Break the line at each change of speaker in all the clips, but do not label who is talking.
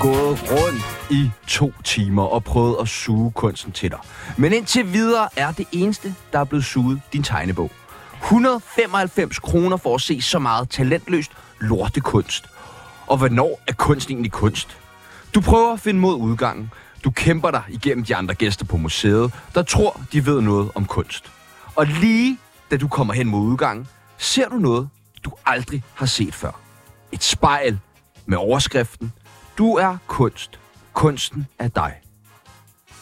gået rundt i to timer og prøvet at suge kunsten til dig. Men indtil videre er det eneste, der er blevet suget din tegnebog. 195 kroner for at se så meget talentløst lortekunst. Og hvornår er kunst egentlig kunst? Du prøver at finde mod udgangen. Du kæmper dig igennem de andre gæster på museet, der tror, de ved noget om kunst. Og lige da du kommer hen mod udgangen, ser du noget, du aldrig har set før. Et spejl med overskriften Du er kunst. Kunsten er dig.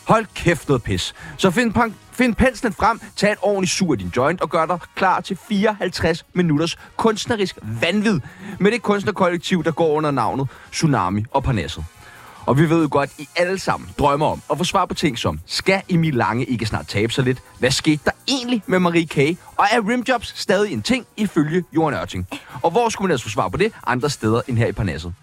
Hold kæft noget pis. Så find, pan- find penslen frem, tag et ordentligt sur i din joint og gør dig klar til 54 minutters kunstnerisk vanvid med det kunstnerkollektiv, der går under navnet Tsunami og Parnasset. Og vi ved jo godt, I alle sammen drømmer om at få svar på ting som, skal Emil Lange ikke snart tabe sig lidt? Hvad skete der egentlig med Marie K? Og er rimjobs stadig en ting ifølge Jorden Ørting? Og hvor skulle man ellers få svar på det andre steder end her i Parnasset?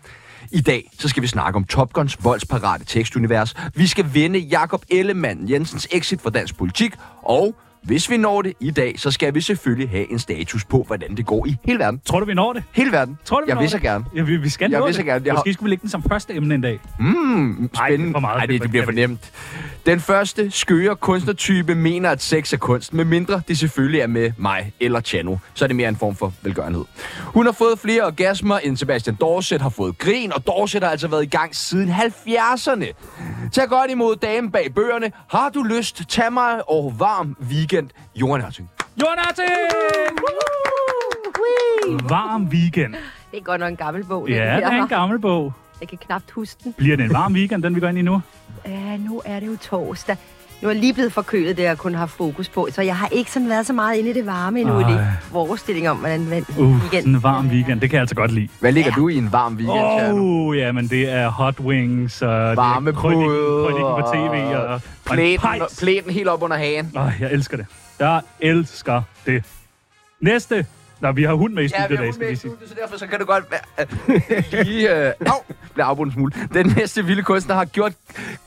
I dag så skal vi snakke om Top Guns voldsparate tekstunivers. Vi skal vende Jakob Ellemann Jensens exit fra dansk politik. Og hvis vi når det i dag, så skal vi selvfølgelig have en status på, hvordan det går i hele verden.
Tror du, vi når det?
Hele verden.
Tror du, vi
jeg
når
vil
det?
så gerne.
Ja, vi, vi skal
Jeg
nå
vil
det.
så gerne. Jeg har-
Måske skulle vi lægge den som første emne en dag.
Mm,
Ej, det er
spændende.
for meget.
Ej, det, det bliver for nemt. Den første skøre kunstnertype mener, at sex er kunst, medmindre det selvfølgelig er med mig eller Chano. Så er det mere en form for velgørenhed. Hun har fået flere orgasmer, end Sebastian Dorset har fået grin, og Dorset har altså været i gang siden 70'erne. Tag godt imod damen bag bøgerne. Har du lyst, tag mig og varm weekend. Jorden Hørting.
Jonathan! Varm weekend.
Det er godt nok en gammel bog. det
Ja,
her.
det er en gammel bog.
Jeg kan knapt huske den.
Bliver det en varm weekend, den vi går ind i nu?
Ja, nu er det jo torsdag. Nu er jeg lige blevet forkølet, det jeg kun har haft fokus på, så jeg har ikke sådan været så meget inde i det varme endnu.
Ej.
Ej. Det er forestilling om, hvordan vand
Uh,
igen.
sådan en varm weekend, det kan jeg altså godt lide.
Hvad ligger du i en varm weekend,
Åh,
Chano?
oh, ja, men det er hot wings, og
Varme
det er krøniken,
puder,
krøniken på tv, og, og en
Plæten,
pejs.
plæten helt op under hagen.
Åh, jeg elsker det. Jeg elsker det. Næste. Nå, vi har hund med i
Ja,
studiet
vi
i
har
dag,
hun
skal
med i
vi sige.
studiet, så derfor så kan det godt være, at lige øh, au, bliver afbrudt en smule. Den næste vilde kunstner har gjort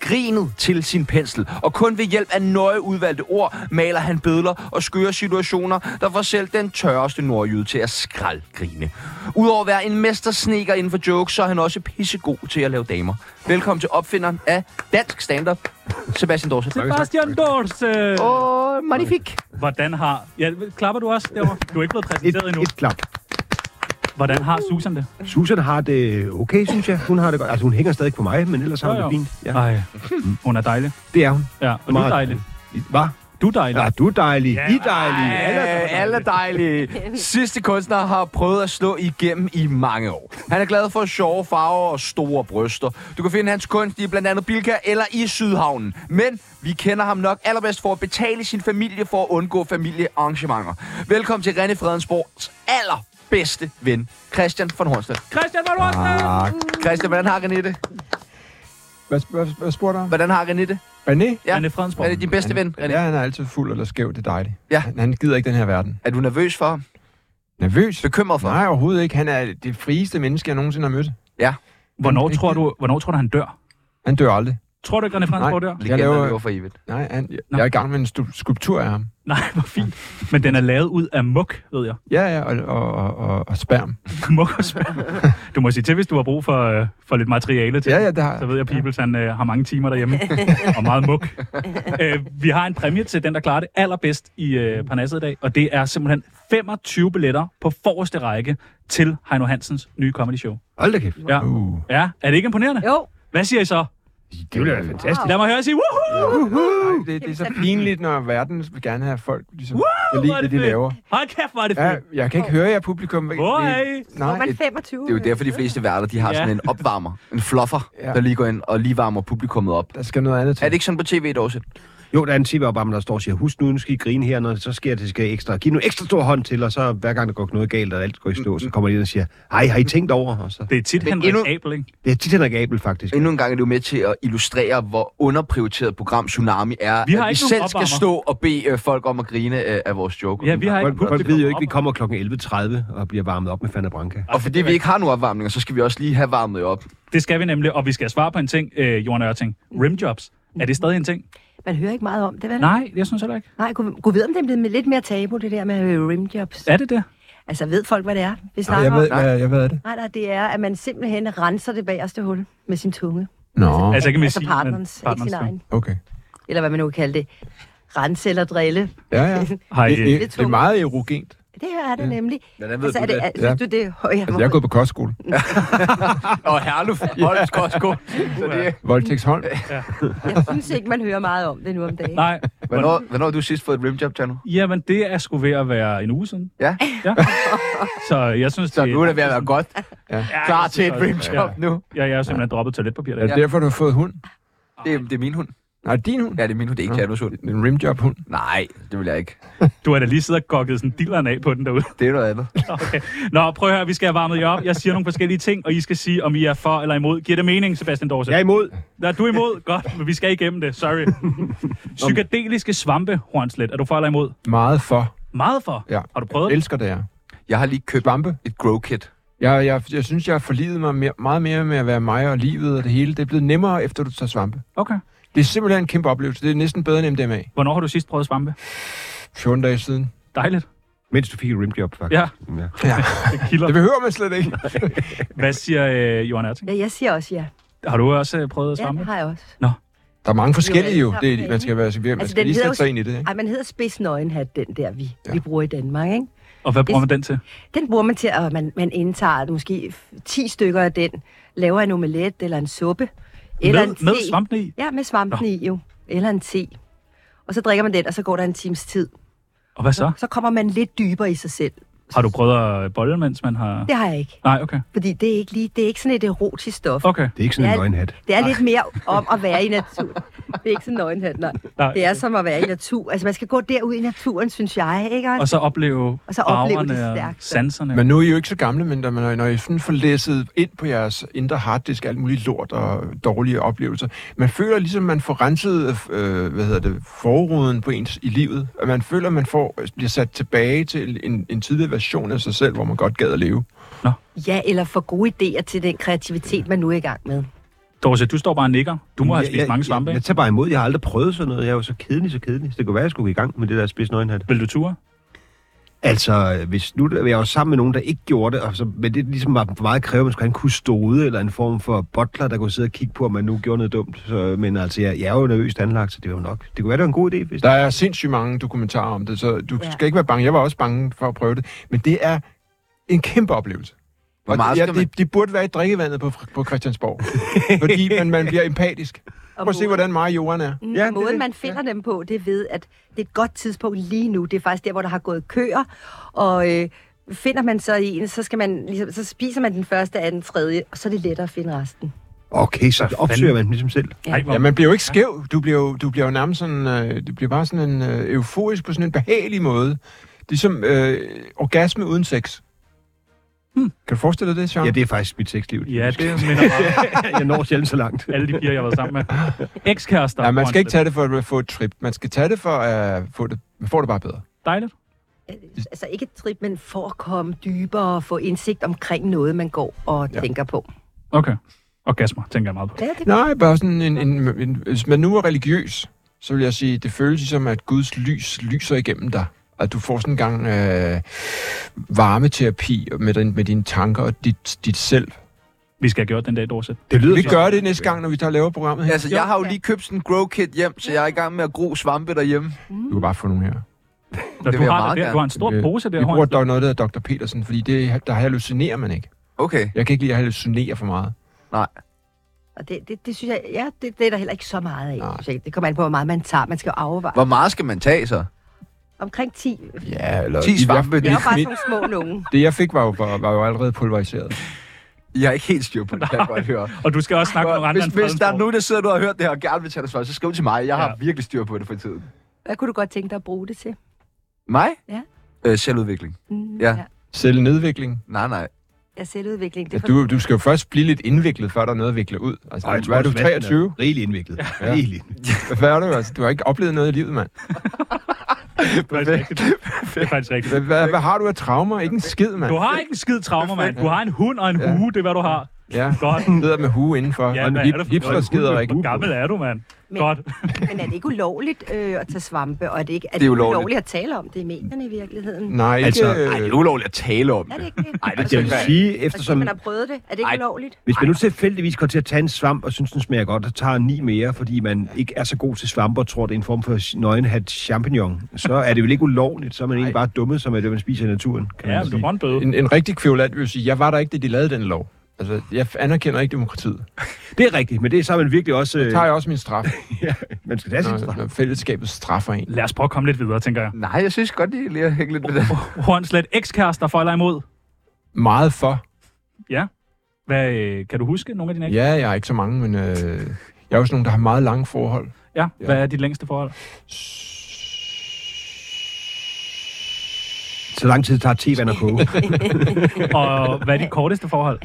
grinet til sin pensel, og kun ved hjælp af nøje udvalgte ord maler han billeder og skøre situationer, der får selv den tørreste nordjyde til at skraldgrine. Udover at være en mestersneker inden for jokes, så er han også pissegod til at lave damer. Velkommen til opfinderen af dansk stand-up, Sebastian Dorset.
Sebastian Dorse!
øh.
Åh, magnifik.
Hvordan har... Ja, klapper du også derovre? Du er ikke blevet
Et,
præsenteret endnu.
et klap.
Hvordan har Susan det?
Susan har det okay, synes jeg. Hun har det godt. Altså, hun hænger stadig på mig, men ellers har hun
Jo,
det
jo.
fint. Ja,
Ej, hun er dejlig.
det er hun.
Ja, og du er
Meget
dejlig.
Hvad?
Du er dejlig.
Ja, du er dejlig.
Ja,
I er dejlige. Alle er
Alle, alle er dejlige. Sidste kunstner har prøvet at slå igennem i mange år. Han er glad for sjove farver og store bryster. Du kan finde hans kunst i blandt andet Bilka eller i Sydhavnen. Men vi kender ham nok allerbedst for at betale sin familie for at undgå familiearrangementer. Velkommen til René Fredensborgs allerbedste ven, Christian von Hornstedt.
Christian von Rothstein!
Christian, hvordan har René det?
Hvad, hvad, hvad spurgte du om?
Hvordan har René det?
René?
Ja.
Anne Fredensborg.
Er det din bedste ven,
Ja,
René?
han er altid fuld eller skæv, det er dejligt.
Ja.
Han, han gider ikke den her verden.
Er du nervøs for ham?
Nervøs?
Bekymret for ham?
Nej, overhovedet ikke. Han er det frieste menneske, jeg nogensinde har mødt.
Ja.
Hvornår tror, du, hvornår tror du, han dør?
Han dør aldrig.
Tror du ikke, Anne Fredensborg dør?
Legender
laver-
lever for evigt.
Nej, han, jeg,
Nå.
jeg er i gang med en stu- skulptur af ham.
Nej, hvor fint. Men den er lavet ud af muk, ved jeg.
Ja, ja, og, og, og, og, og sperm.
Muk og spam. Du må sige til, hvis du har brug for, øh, for lidt materiale til
Ja,
den.
ja, det har
Så
jeg.
ved jeg, Peoples han øh, har mange timer derhjemme, og meget muk. Øh, vi har en præmie til den, der klarer det allerbedst i øh, Parnasset i dag, og det er simpelthen 25 billetter på forreste række til Heino Hansens nye comedy show.
Hold da kæft.
Ja.
Uh,
Ja, er det ikke imponerende?
Jo,
Hvad siger I så?
Det ville være fantastisk.
Lad mig høre jer sige, woohoo!
nej, det, det er så pinligt, når verden vil gerne have folk, ligesom,
Woo,
kan
hvor er
lide det, de
fedt.
laver.
Hold kæft, hvor er det
Ja,
fedt.
jeg kan ikke høre jer publikum.
Hvor
Det-
er I?
hvor er
Nej,
man
et,
25.
Det er jo derfor, de fleste værter, de har
Ja.
sådan en opvarmer, en fluffer,
Ja.
der lige går ind og lige varmer publikummet op.
der skal noget andet til.
Er det ikke sådan på tv, Dorset?
Jo, der er en tv-opvarmer, der står og siger, husk nu, nu skal I grine her, når så sker det, det skal ekstra. Giv nu ekstra stor hånd til, og så hver gang der går noget galt, og alt går i stå, så kommer de ind og siger, hej, har I tænkt over? Og så,
Det er tit
Men
Henrik
endnu-
Abel, ikke?
det er tit Henrik Abel, faktisk.
Endnu en gang er det jo med til at illustrere, hvor underprioriteret program Tsunami er.
Vi har
at vi
ikke nogen
selv
opvarmer.
skal stå og bede øh, folk om at grine øh, af vores joke.
Ja, vi har ikke
Folk, folk
publikum
ved jo ikke,
op.
vi kommer kl. 11.30 og bliver varmet op med Fanta Branca.
Og fordi vi ikke har nogen opvarmninger, så skal vi også lige have varmet jer op.
Det skal vi nemlig, og vi skal svare på en ting, øh, Johan Ørting. Rimjobs. Er det stadig en ting?
man hører ikke meget om det, vel?
Nej, jeg synes heller ikke.
Nej, kunne, kunne vide, om det er blevet lidt mere tabu, det der med øh, rimjobs.
Er det det?
Altså, ved folk, hvad det er, vi
Nej,
snakker
jeg ved,
om?
hvad, jeg ved det.
Nej, nej, det er, at man simpelthen renser det bagerste hul med sin tunge.
Nå,
Altså ikke med
altså
sin,
partnerens,
men
ikke sin
partnerens.
egen.
okay.
Eller hvad man nu kan kalde det. Rense eller drille.
Ja, ja.
Har I,
Det, det,
Lidt
det er
tung.
meget erogent.
Det her er det ja. nemlig.
Hvordan ved
altså,
du
er det,
det?
Er, synes
Ja.
du, det er højere?
Altså, jeg er gået på kostskole.
Og Herluf, Holms Kostko. Så det,
Voldtægtsholm.
jeg synes ikke, man hører meget om det nu om dagen.
Nej.
hvornår, hvornår har du sidst fået et rimjob, Tjerno?
Jamen, det er sgu ved at være en uge siden.
Ja?
Ja. Så jeg synes,
Så nu er det ved at være godt.
Ja,
Klar
jeg
til
synes
et
også-
rimjob
ja.
nu.
Ja, jeg har simpelthen droppet toiletpapir der.
Er det derfor, du har fået hund?
Det, er- det er min hund.
Nej, din hund.
Ja, det er min hund. Det er ikke
Nå.
Tjernos hund.
En rimjob-hund.
Nej, det vil jeg ikke.
Du har da lige siddet og gokket sådan dilleren af på den derude.
Det er noget andet.
Okay. Nå, prøv at høre, vi skal have varmet jer op. Jeg siger nogle forskellige ting, og I skal sige, om I er for eller imod. Giver det mening, Sebastian Dorset?
Jeg er imod.
Nå, du er imod? Godt, men vi skal igennem det. Sorry. Psykedeliske svampe, Hornslet. Er du for eller imod?
Meget for.
Meget for.
Ja.
Har du prøvet
Jeg
det?
elsker det her.
Jeg har lige købt
Svampe.
et grow kit.
Jeg, jeg, jeg synes, jeg har forlivet mig mere, meget mere med at være mig og livet og det hele. Det er blevet nemmere, efter du tager svampe.
Okay.
Det er simpelthen en kæmpe oplevelse. Det er næsten bedre end MDMA.
Hvornår har du sidst prøvet svampe?
14 dage siden.
Dejligt.
Mens du fik et rimjob, faktisk.
Ja,
ja.
det kilder.
Det behøver man slet ikke.
Hvad siger øh, Johan Erting?
Ja, jeg siger også ja.
Har du også øh, prøvet at
Ja,
svampe?
det har jeg også.
Der er mange forskellige jo. Det, er- man skal, være, man
Altså,
skal
den hedder
lige sætte
jo-
sig ind i det. Ikke?
Ej, man hedder spidsnøgenhat, den der, vi,
Ja.
ja. vi bruger i Danmark, ikke?
Og hvad bruger man den til?
Den bruger man til, at man, man indtager måske 10 stykker af den, laver en omelet eller en suppe. Eller en
Med,
te.
med svampene i?
Ja, med svampen i jo. Eller en te. Og så drikker man den, og så går der en times tid.
Og hvad så?
Så kommer man lidt dybere i sig selv.
Har du prøvet at bolle, mens man har...
Det har jeg ikke.
Nej, okay.
Fordi det er ikke, lige, det er ikke sådan et erotisk stof.
Okay.
Det er ikke sådan en
Ja.
løgnhat.
Det er lidt mere om at være i naturen. Det er ikke sådan nøgenhat, nej.
Nej.
Det er som at være i natur. Altså, man skal gå derud i naturen, synes jeg, ikke?
Og så opleve
Og så opleve det
farverne og
stærkt.
sanserne.
Men nu er I jo ikke så gamle, men da man, når I sådan får læsset ind på jeres indre harddisk alt muligt lort og dårlige oplevelser, man føler ligesom, man får renset øh, hvad hedder det, forruden på ens i livet. At man føler, man får, bliver sat tilbage til en, en tidligere version af sig selv, hvor man godt gad at leve.
Ja, eller få gode idéer til den kreativitet, man nu er i gang med.
Dorse, du står bare og nikker. Du må have
Jeg-
spist
jeg-
mange svampe,
Jeg,
ikke?
jeg tager bare imod. Jeg har aldrig prøvet sådan noget. Jeg er jo så kedelig, så kedelig. Så det kunne være, at jeg skulle i gang med det der spids nøgenhat.
Vil du ture?
Altså, hvis nu jeg var jo sammen med nogen, der ikke gjorde det, og så, men det ligesom var for meget kræve, at man skulle have en kustode eller en form for butler, der kunne sidde og kigge på, om man nu gjorde noget dumt. Så, men altså, jeg, jeg er jo nervøst anlagt, så det var jo nok. Det kunne være, det var en god idé, hvis
Der er sindssygt mange dokumentarer om det, så du ja.
Ja.
skal ikke være bange. Jeg var også bange for at prøve det. Men det er en kæmpe oplevelse.
Hvor meget
og ja,
skal man...
det, det burde være i drikkevandet på, på Christiansborg. fordi man, man bliver empatisk.
Og
Prøv at se,
måden-
hvordan meget jorden er.
Mm,
Ja, det
ja,
er
måden,
det.
man finder ja. dem på, det er ved, at det er et godt tidspunkt lige nu. Det er faktisk der, hvor der har gået køer, og øh, finder man så i en, så, skal man, ligesom, så spiser man den første, anden, tredje, og så er det lettere at finde resten.
Okay, så opsøger man dem ligesom selv.
Ja.
Ej, hvor...
Ja, man bliver jo ikke skæv. Du bliver jo, du bliver jo nærmest sådan, øh, du bliver bare sådan en øh, euforisk på sådan en behagelig måde. Ligesom øh, orgasme uden sex. Hmm. Kan du forestille dig det, Sean?
Ja, det er faktisk mit sexliv.
ja det minder mig om
jeg når sjældent så langt.
alle de piger, jeg har været sammen med. Ekskærester.
ja, man skal ikke
Hornslet.
tage det for at få et trip. Man skal tage det for at få det, man får det bare bedre.
Dejligt.
Altså ikke et trip, men for at komme dybere og få indsigt omkring noget, man går og
Ja.
ja. tænker på.
Okay. Orgasmer, tænker jeg meget på.
Ja, det
Nej, bare sådan en, en, en, hvis man nu er religiøs, så vil jeg sige, det føles ligesom, at Guds lys lyser igennem dig. At du får sådan en gang øh, varmeterapi med, din, med dine tanker og dit, dit selv.
Vi skal have gjort den dag, Dorse.
Det lyder
Vi
som-
gør det næste gang, når vi tager og laver programmet her.
Altså, jeg har jo lige købt sådan en grow kit hjem, så jeg er i gang med at gro svampe derhjemme.
Du kan bare få nogle her.
Når
vil
du,
jeg
har
meget
det der,
gerne.
du har en stor
Vi-
pose der,
Vi bruger
Hornslet.
dog noget, der hedder Dr. Petersen, fordi det, der hallucinerer man ikke.
Okay.
Jeg kan ikke lide at hallucinere for meget.
Og det, det, det synes jeg, ja, det, det er der heller ikke så meget af.
Nej.
synes jeg. Det kommer an på, hvor meget man tager. Man skal jo afveje.
Hvor meget skal man tage så?
Omkring 10.
Ja, eller...
10 svampe.
Jeg er
Mit,
bare
mit,
sådan nogle små nogen.
det, jeg fik, var jo, var, var jo allerede pulveriseret.
Jeg er ikke helt styr på det, kan jeg godt høre.
Og du skal også snakke med nogle andre
Hvis,
end
hvis der er
Fredensborg.
nogen, der sidder nu og har hørt det her og gerne vil tage det svar, så skriv til mig. Jeg har
Ja.
virkelig styr på det for tiden.
Hvad kunne du godt tænke dig at bruge det til?
Mig?
Ja.
Øh, selvudvikling.
Mm,
Ja.
Selv nedvikling.
Nej, nej.
Ja, selvudvikling.
Ja,
Det
du, du skal jo først blive lidt indviklet, før der er noget at vikle ud. Altså,
Ej, jeg tror,
hvad er du,
Sebastian
23?
Rigelig indviklet. Ja. Rigelig.
Hvad er du? Altså, du har ikke oplevet noget i livet, mand.
Det er faktisk rigtigt. Det er faktisk rigtigt.
Hvad, hvad, hvad har du af traumer? Ikke en skid, mand.
Du har ikke en skid traumer, mand. Du har en hund og en
Ja.
hue, det er hvad du har.
Ja,
Godt.
sidder med hue indenfor.
Ja,
og
hvad er det for
hipster
noget?
skider ikke.
Hvor gammel er du, mand?
Men-
Godt.
Men er det ikke ulovligt øh, at tage svampe, og er det ikke er det
Det er
ulovligt.
ulovligt.
ulovligt at tale om det i medierne i virkeligheden?
Nej, ikke...
Altså,
øh,
Ej, det er ulovligt at tale om
Er det
det.
ikke det?
Ej, det
Altså,
Jeg vil sige,
Fordi som...
eftersom...
man har prøvet det. Er det ikke
Ej.
ulovligt?
Hvis man nu tilfældigvis går til at tage en svamp og synes, den smager godt, og tager ni mere, fordi man ikke er så god til svampe og tror, det er en form for nøgenhat champignon, så er det vel ikke ulovligt, så er man egentlig bare dummet, som er det, man spiser i naturen. Kan
Ja,
man
men
sige.
du får en bøde.
en, en rigtig kvævland vil jo sige, jeg var der ikke, da de lavede den lov. Altså, jeg anerkender ikke demokratiet.
det er rigtigt, men det er så er man virkelig også...
Så
Øh,
tager jeg også min straf,
man skal tage sin
når,
straf.
når fællesskabet straffer en.
Lad os prøve at komme lidt videre, tænker jeg.
Nej, jeg synes godt, det er lige at hænge lidt med det.
Hornslet, ekskærester for eller imod?
Meget for.
Hvad, øh, kan du huske nogle af dine
Ja, jeg er ikke så mange, men øh, jeg er jo sådan nogen, der har meget lange forhold.
Ja. ja. Hvad er dit længste forhold?
Så lang tid tager tevand at koge.
Og hvad er dit korteste forhold?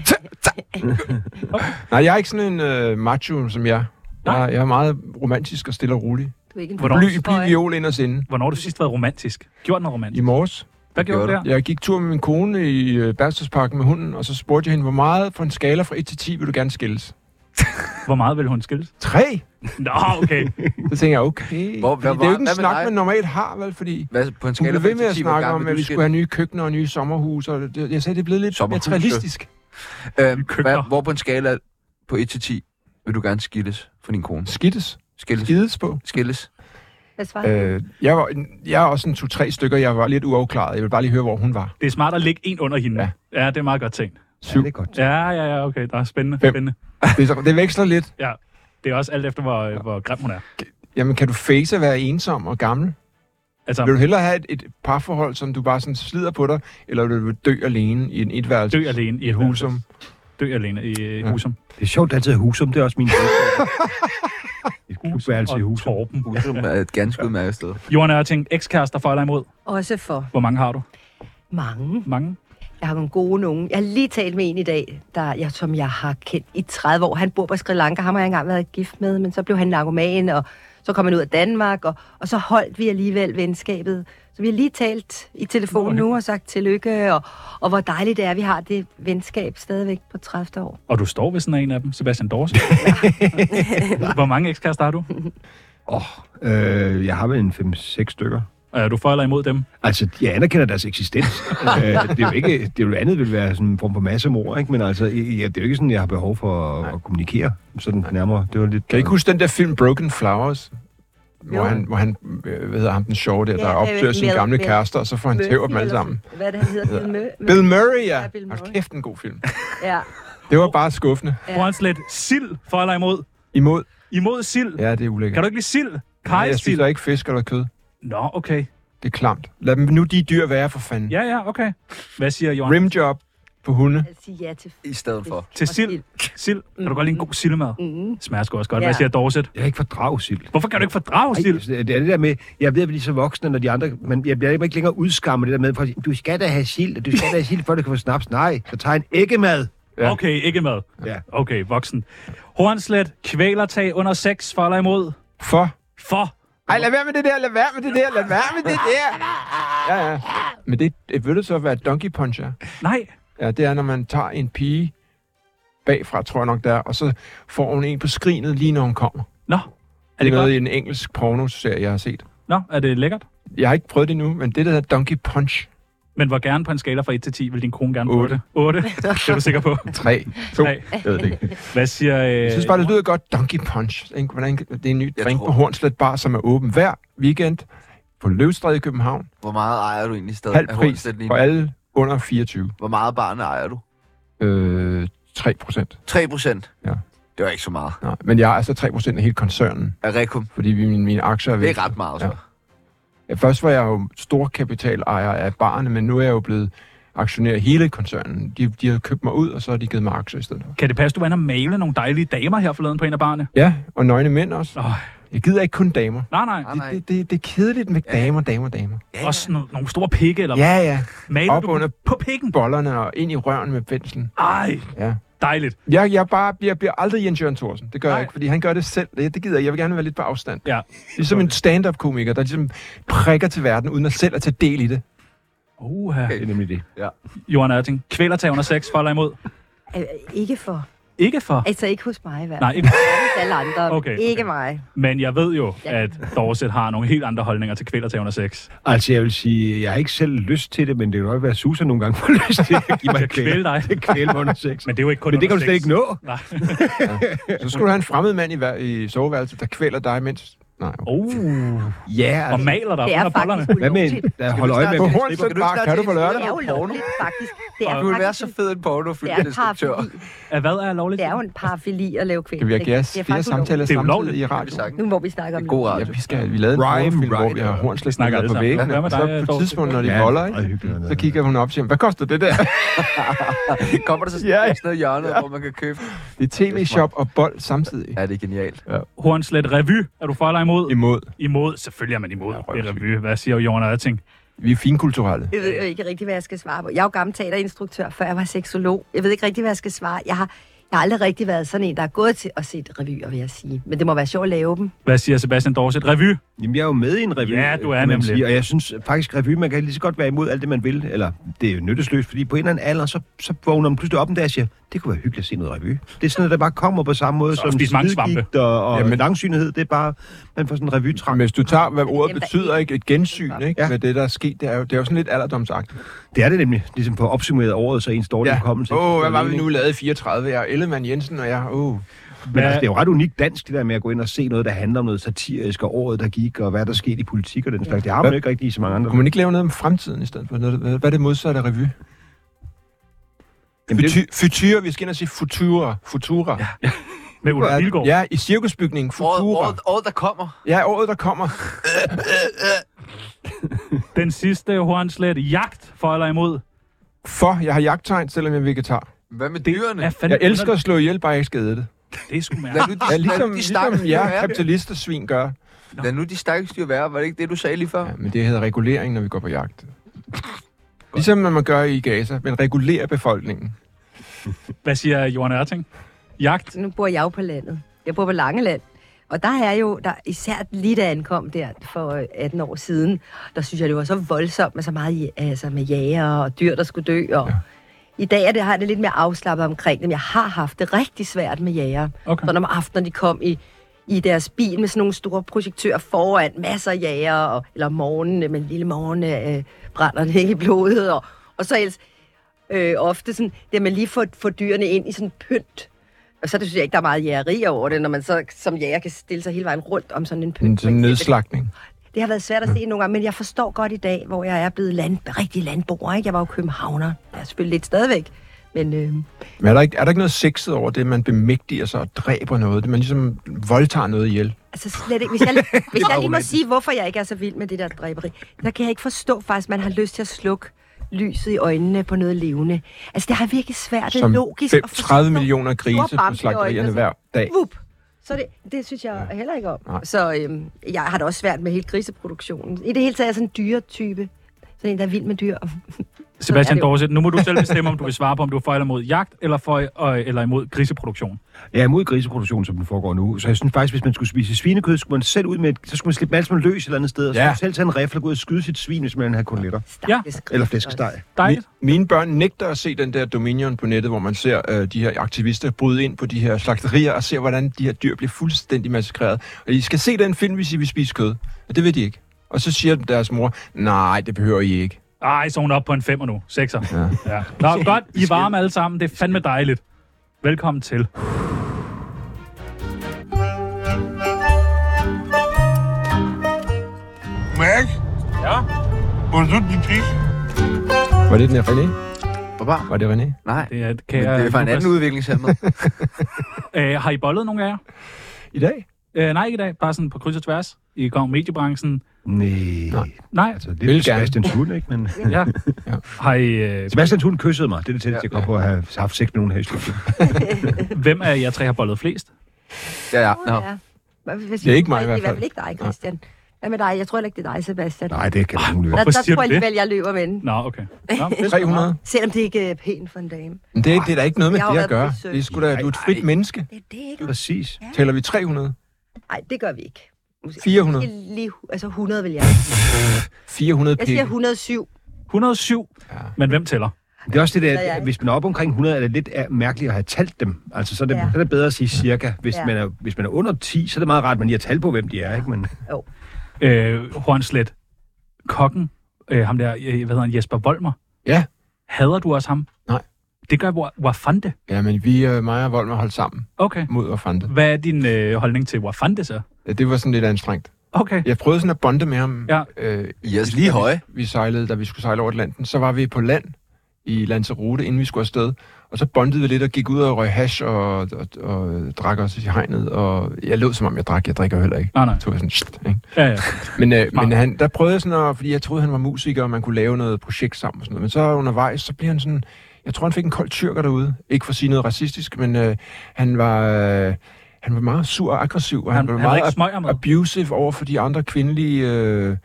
Nej, jeg er ikke sådan en øh, macho som jeg.
Nej.
Jeg, jeg er meget romantisk og stille og rolig.
Du er ikke en
Hvornår-
Bly,
forbrugsboy.
bly viol inderst inde.
Hvornår har du sidst været romantisk? Gjort noget
I
romantisk?
morges.
Hvad gjorde du der?
Jeg gik tur med min kone i øh, Bærstødsparken med hunden, og så spurgte jeg hende, hvor meget for en skala fra 1 til 10 vil du gerne skilles?
Hvor meget ville hun skilles?
3!
Nå, okay.
Så tænker jeg,
Hvor-
okay. Hvor,
hvad
hvad, det er jo
var-
ikke en
hvad med
snak,
dig?
man normalt har, vel? Fordi
Hvad, på en
hun
skala
blev
fra
ved med
1
at
til 10, hvor
snakke om,
gammel
at
vil
vi
du
skulle have
skille?
nye køkkener og nye sommerhuse. Og det, jeg sagde, det er blevet lidt
Sommerhuse.
materialistisk.
Øhm,
køkkener.
hvad, hvor på en skala på 1 til 10 vil du gerne skilles fra din kone?
Skidtes.
Skilles.
Skides på.
Skilles.
Hvad svarer du?
Øh, jeg, var, jeg er også en to-tre stykker, jeg var lidt uafklaret. Jeg vil bare lige høre, hvor hun var.
Det er smart at lægge en under hende. Ja,
Ja.
ja det er meget godt tænkt.
Ja, det er godt.
Ja, ja, ja, okay. Der er spændende.
Fem.
spændende.
Det, er så- det veksler lidt.
Ja. Det er også alt efter, hvor, ja. hvor grim hun er.
Jamen, kan du face at være ensom og gammel?
Altså,
Vil du hellere have et, et parforhold, som du bare sådan slider på dig, eller vil du dø alene i en etværelse?
dø alene i et
Husum.
Dø alene i et
Ja. Uh,
husum.
Det er sjovt, at altid er husum. Det er også min bedste. Et klubværelse i
Og
husum.
Torben.
Husum er et ganske udmærket sted.
Johan Ørting, ekskærester for eller imod?
Også for
Hvor mange har du?
mange.
Mange?
Jeg har nogle gode nogen. Jeg har lige talt med en i dag, der, jeg, som jeg har kendt i 30 år. Han bor på Sri Lanka, ham har jeg engang været gift med, men så blev han narkoman, og så kom han ud af Danmark, og, og så holdt vi alligevel venskabet. Så vi har lige talt i telefon nu og sagt tillykke, og, og hvor dejligt det er, at vi har det venskab stadigvæk på 30 år.
Og du står ved sådan en af dem, Sebastian Dorsen. hvor mange ekskærester har du?
Øh, jeg har vel en 5-6 stykker.
Er du for eller imod dem?
Altså, jeg anerkender deres eksistens. øh, det er jo ikke, det er jo andet vil være sådan en form for massemord, ikke? Men altså, ja, det er jo ikke sådan, jeg har behov for at, at kommunikere sådan nærmere. Det var lidt...
Kan I ikke huske den der film Broken Flowers?
Jo.
Hvor han, hvor han, øh, hvad hedder ham, den sjove der,
Ja,
der
øh,
opsøger sine
Mel-
gamle
Mel-
kærester, og så får han tæv dem alle
eller-
sammen.
Hvad er det, han hedder? Bill, Mø- Mø-
Bill Murray, ja.
Ja, Bill Murray.
Hold kæft, en god film.
Ja.
Det var bare skuffende.
Ja.
Hornslet, sild for eller imod?
Imod.
Imod sild?
Ja, det er ulækkert.
Kan du ikke lide sild?
Nej, jeg
Kajsild?
spiser ikke fisk eller kød.
Nå, okay.
Det er klamt. Lad dem nu de dyr være, for fanden.
Ja, ja, okay. Hvad siger Johan?
Rimjob på hunde.
Jeg siger ja til
I stedet for.
Til
Og
sild. Sild. Kan du godt lide en god sildemad?
Mm.
Smager sgu også godt.
Ja.
Hvad siger Dorset?
Jeg kan ikke fordrage sild.
Hvorfor kan du ikke fordrage
Ej,
sild?
altså, det er det der med, jeg ved, at vi er så voksne, når de andre, men jeg bliver ikke længere udskammet det der med, for at sige, du skal da have sild, og du skal da have sild, før du kan få snaps. Nej, så tager en æggemad.
Ja.
Okay, ikke mad.
Ja.
Okay, voksen. Hornslet, kvælertag under 6 for eller imod?
For.
For.
Ej, lad være med det der, lad være med det der, lad være med det der. Ja, ja. Men det, det vil det så være donkey puncher.
Nej.
Ja, det er, når man tager en pige bagfra, tror jeg nok der, og så får hun en på skrinet, lige når hun kommer.
Nå. Er
Det
det
er noget
godt?
i en engelsk pornoserie, jeg har set.
Nå, er det lækkert?
Jeg har ikke prøvet det nu, men det der hedder Donkey Punch
Men hvor gerne på en skala fra 1 til 10 vil din kone gerne
Otte.
8? 8? Det er du sikker på?
3. 2.
Nej.
Jeg ved det ikke.
Hvad siger... Øh,
Jeg synes bare, det lyder godt. Donkey Punch. ikke? Hvordan, kan- det er en ny
Jeg
drink
tror-
på Hornslet Bar, som er åben hver weekend på Løvstræde i København.
Hvor meget ejer du egentlig stadig?
Halv
af
pris
Hornslet lige
for
nu?
alle under 24.
Hvor meget barn ejer du?
Øh, 3 procent.
3 procent?
Ja.
Det var ikke så meget.
Nej, men jeg er altså 3 procent af hele koncernen,
Af Rekum,
fordi vi- mine, mine aktier er
det
væk.
er ret meget, så.
Ja. Ja, Først var jeg jo stor kapitalejer af barne, men nu er jeg jo blevet aktionær i hele koncernen. De, de har købt mig ud, og så har de givet mig aktier i stedet for.
Kan det passe, du var inde og male nogle dejlige damer her forleden på en af barne?
Ja, og nøgne mænd også.
Oh,
Jeg gider ikke kun damer.
nej, nej.
Nej,
Det,
nej.
det, det, det er kedeligt med damer, damer, damer.
ja.
Også no- nogle store pikke, eller
Ja, ja.
maler
Op
du
under-
på pikken?
Bollerne og ind i røven med penslen.
Ej,
Ja.
dejligt.
Jeg, jeg, bare, jeg bliver aldrig Jens Jørgen Thorsen. Det gør
Nej.
jeg ikke, fordi han gør det selv. Det, det gider jeg. Jeg vil gerne være lidt på afstand.
Ja.
Ligesom en stand-up-komiker, der ligesom prikker til verden, uden at selv at tage del i det.
Oha.
Det er nemlig det.
Johan Ørting, kvælertag under 6 for eller imod?
Øh, ikke for.
Ikke for...
Altså ikke hos mig i hvert fald.
Nej, ikke,
Ikke alle andre.
Okay,
Ikke
okay.
mig.
men jeg ved jo,
Ja.
at Dorset har nogle helt andre holdninger til kvælertag under sex.
Altså, jeg vil sige, jeg har ikke selv lyst til det, men det kan godt være, at Susan nogle gange får lyst til at give mig
Kan kvæle dig.
Det kvæle mig under sex.
Men det er jo ikke kun
Men det kan
under
du slet
sex.
ikke nå.
Nej.
Så skulle du have en fremmed mand i, hver- i soveværelset, der kvæler dig, mens... Nej, okay.
Oh,
Ja,
og
altså.
maler dig
Det er
under bollerne.
faktisk
Hvad med en,
ulovligt.
der holder øje med
På
dem?
Hornsleth Bar, kan du på lørdag?
Det er jo lovligt, faktisk. Det er
Du vil være
faktisk
så fed en pornofilm,
det er,
instruktør.
parafili.
At Hvad er lovligt?
det er jo en parafili at lave kvæl.
Kan vi have
Det er
gas? Det er
faktisk ulovligt.
samtaler
Det er
samtidig
ulovligt.
i
Det
radio.
er sagt.
Nu hvor vi snakker om
Det er god
Ja,
radio.
vi, skal, vi lavede en
Rhyme,
pornofilm, hvor
right.
vi har hornslæs
Snakker
på
alle sammen.
væggen.
Hvad med dig,
så på et
Dorte?
tidspunkt, når de
Ja,
boller,
meget
ikke?
hyggeligt.
så kigger hun op og siger, hvad koster det der?
Kommer der så
Ja,
sådan
ja.
et sted i hjørnet, hvor man kan købe?
Det er tv-shop og bold samtidig.
Ja, det er genialt.
Hornslet Revy. Er du for eller imod?
Imod.
Imod. Selvfølgelig er man imod.
Ja,
Ja,
røvsyg.
revy. Hvad siger Jørgen Ørting?
Vi er finkulturelle.
Jeg ved jo ikke rigtig, hvad jeg skal svare på. Jeg er jo gammel teaterinstruktør, før jeg var seksolog. Jeg ved ikke rigtig, hvad jeg skal svare. Jeg har, jeg har aldrig rigtig været sådan en, der er gået til at se revyer, vil jeg sige. Men det må være sjovt at lave dem.
Hvad siger Sebastian Dorset? Revy.
Mm. Jamen, jeg er jo med i en revy. øh,
Ja, du er
kan man
nemlig.
Sige. Og jeg synes faktisk, revy, man kan lige så godt være imod alt det, man vil. Eller, det er jo nyttesløst, fordi på en eller anden alder, så, så vågner man pludselig op en dag og siger, det kunne være hyggeligt at se noget revy. Det er sådan, at der bare kommer på samme måde
Så
som
spise mange svampe.
slidgigt og, og
Ja, men-
Jamen. langsynighed. Det er bare, man får sådan en revytrang.
Hvis du tager, hvad
Dem,
ordet
der
betyder, ikke? et gensyn ikke?
Ja.
med det, der er sket, det er jo, det er jo sådan lidt alderdomsagtigt.
Det er det nemlig, ligesom på opsummeret året, så ens dårlige hukommelse.
Åh, oh, hvad var vi nu lavet i 34? Jeg er Ellemann Jensen, og jeg... Oh.
Men altså,
Hvad-
det er jo ret unikt dansk, det der med at gå ind og se noget, der handler om noget satirisk, og året, der gik, og hvad der skete i politik og den slags. Det har man jo ikke rigtig i så mange andre.
Kunne man ikke lave noget om fremtiden i stedet for? Noget, hvad hvad er det modsatte af revy?
Jamen, det-
Futu- Future, vi skal ind og sige futura. Futura. Ja,
Med Ulrik Vilgaard.
ja i cirkusbygningen.
Året,
Futura.
året, året, der kommer.
Ja, året, der kommer.
Den sidste Hornslet. Jagt for eller imod?
For, jeg har jagttegn, selvom jeg er vegetar.
Hvad med dyrene?
Er fandme
Jeg elsker at slå ihjel, bare jeg ikke skal æde det.
Det er sgu
Lad
mærkeligt.
nu
Ja,
de,
ligesom,
ligesom, de
ligesom
stakkels
jeg,
ja,
kapitalister svin gør.
Lad nu de stakkels dyr være. Var det ikke det, du sagde lige før?
Ja, men det hedder regulering, når vi går på jagt. Ligesom når man gør i Gaza, men regulerer befolkningen.
Hvad siger Jørgen Ørting? Jagt.
Nu bor jeg jo på landet. Jeg bor på Langeland. Og der er jo, der, især lige da jeg ankom der for øh, 18 år siden, der synes jeg, det var så voldsomt med så meget ja- altså med jæger og dyr, der skulle dø. Og ja. I dag er det, har jeg det lidt mere afslappet omkring dem. Jeg har haft det rigtig svært med jæger.
Okay.
Sådan om aftenen, de kom i, i deres bil med sådan nogle store projektører foran, masser af jager, og, eller om morgenen øh, med en lille morgen, øh, brænder det ikke i blodet, og, og så ellers øh, ofte sådan, det at man lige får, får dyrene ind i sådan pynt. Og så det synes jeg ikke, der er meget jægeri over det, når man så som jæger kan stille sig hele vejen rundt om sådan en pynt.
En
for
sådan
eksempel.
nedslagning.
Det har været svært at se nogle gange, men jeg forstår godt i dag, hvor jeg er blevet land, rigtig landboer. Ikke? Jeg var jo københavner. Jeg er selvfølgelig lidt stadigvæk, men... Øh,
Men er der, ikke, er der ikke noget sexet over det, at man bemægtiger sig og dræber noget? Det man ligesom voldtager noget ihjel.
Altså slet ikke. Hvis jeg, hvis jeg lige må sige, hvorfor jeg ikke er så vild med det der dræberi, så kan jeg ikke forstå faktisk, at man har lyst til at slukke lyset i øjnene på noget levende. Altså det har virkelig svært, det er
Som
logisk
fem-
at forstå.
30 millioner grise
Store bamser
på
i
slagterierne
øjnene,
hver dag.
Vup! Så det, det synes jeg heller ikke om.
Nej.
Så øhm, jeg har det også svært med hele griseproduktionen. I det hele taget er jeg sådan en dyretype. Sådan en, der er vild med dyr.
Sebastian
det jo.
Dorset, nu må du selv bestemme, om du vil svare på, om du er for eller imod jagt, eller for øh, eller imod griseproduktion.
Jeg er imod griseproduktion, som den foregår nu. Så jeg synes faktisk, hvis man skulle spise svinekød, skulle man selv ud med, et- så skulle man slippe dem alt sammen løs et eller andet sted, og så
Ja.
skulle man selv tage en rifle og gå ud og skyde sit svin, hvis man havde koteletter.
Stakkels gris
Eller
også.
flæskesteg.
Dejligt.
Mi- Mine børn nægter at se den der Dominion på nettet, hvor man ser øh, de her aktivister bryde ind på de her slagterier og ser, hvordan de her dyr bliver fuldstændig massakreret. Og I skal se den film, hvis I vil spise kød. Og det vil de ikke. Og så siger deres mor, nej, det behøver I ikke.
Ej, så er hun oppe på en femmer nu. Sekser.
Ja.
Ja. Nå, godt. I er varme alle sammen. Det er fandme dejligt. Velkommen til.
Max? Ja? Hvor er det, din pis?
Var det den her René?
Baba?
Var det René?
Nej.
Det er et
Men
kære...
det er fra en anden udviklingshemmet.
Øh, har I bollet nogen af jer?
I dag?
Øh, nej, ikke i dag. Bare sådan på kryds og tværs. I går om mediebranchen.
Nej.
Nej.
Nej.
Altså, det
Vil
er
gerne.
Sebastians hund, ikke? Men...
Ja.
Ja.
Har I, øh,
Sebastians hund kyssede mig. Det er det tætteste, jeg kom på at have haft sex med nogen her i studiet.
hvem af jer tre har bollet flest?
Ja, ja.
Åh,
Nå.
ja. Hvad- hvad
Det er ikke mig
Det
i
er
hvert
i hvert fald
fald.
ikke dig, Christian. Hvad med dig? Jeg tror heller ikke, det er dig, Sebastian.
Nej, det kan man ikke.
hvorfor
der, der
siger
tror jeg
du det?
alligevel, jeg løber med den.
Nå, okay. Nå, men det er sgu
300?
Selvom det ikke er pænt for en dame.
Men det, er- det er da ikke noget med
Jeg har
det
jo været
at
på
gøre.
besøg.
Det er sgu da, du er et frit menneske.
Det, det er ikke
Præcis.
Taler vi 300?
Nej, det gør vi ikke. Måske-
400?
Måske Lige, altså 100 vil jeg.
400
Jeg siger
pikke.
107.
107.
Ja.
Men hvem tæller?
Det er også det der,
Eller jeg.
at hvis man er oppe omkring 100, er det lidt er mærkeligt at have talt dem. Altså, så er det,
Ja.
ja. så er det bedre at sige cirka. Hvis,
Ja.
ja. man er, hvis man er under 10, så er det meget rart, at man lige har tal på, hvem de er. Ikke? Men,
Jo.
Øh, Hornslet, kokken, øh, ham der, øh, hvad hedder han, Jesper Volmer.
Ja.
Hader du også ham?
Nej.
Det gør Wa- Wafande.
Ja, men vi, øh, mig og Volmer, holdt sammen
Okay.
mod Orfante.
Hvad er din øh, holdning til Wafande så?
Ja, det var sådan lidt anstrengt.
Okay.
Jeg prøvede sådan at bonde med ham.
Ja.
Øh,
I er altså lige høje.
vi sejlede, da vi skulle sejle over Atlanten, så var vi på land i Lanzarote, inden vi skulle afsted. Og så bondede vi lidt og gik ud og røg hash og, og, og øh, drak os i hegnet. Og jeg lød, som om jeg drak. Jeg drikker jo heller ikke.
Nej, nej.
Så var jeg sådan, "Sht," ikke?
Ja, ja.
Men, øh,
Smart.
men han, der prøvede jeg sådan at, fordi jeg troede, han var musiker, og man kunne lave noget projekt sammen og sådan noget. Men så undervejs, så blev han sådan, jeg tror, han fik en kold tyrker derude. Ikke for at sige noget racistisk, men øh, han var... Øh, han var meget sur og aggressiv, og
Han,
han, var
han, er
meget
ikke smøger med.
abusive over for de andre kvindelige, øh,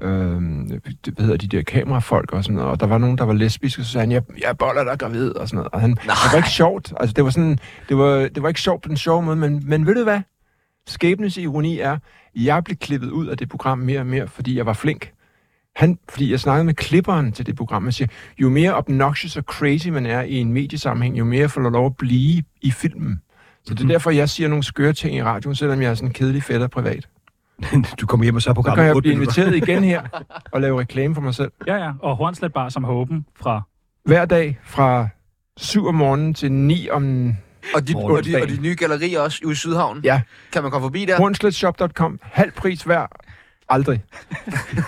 øh, det- hvad hedder de der kamerafolk og sådan noget. Og der var nogen, der var lesbiske, så sagde han, jeg, jeg boller dig gravid og sådan noget. Og han, det var ikke sjovt. Altså, det var sådan, det var, det var ikke sjovt på den sjove måde, men, men ved du hvad? Skæbnens ironi er, jeg blev klippet ud af det program mere og mere, fordi jeg var flink. Han, fordi jeg snakkede med klipperen til det program, og siger, jo mere obnoxious og crazy man er i en mediesammenhæng, jo mere får du lov at blive i filmen. Så det er derfor, jeg siger nogle skøre ting i radioen, selvom jeg er sådan en kedelig fætter privat.
du kommer hjem og så er
Så kan
programmet
jeg
8
blive
minutter.
inviteret igen her og lave reklame for mig selv.
Ja, ja. Og Hornslet bare som håben fra...
Hver dag fra 7 om morgenen til 9 om
Og de, og, de,
Morgensdagen.
og de nye gallerier også ude i Sydhavn.
Ja.
Kan man komme forbi der?
hornsletshop.com. Halv pris hver. Aldrig.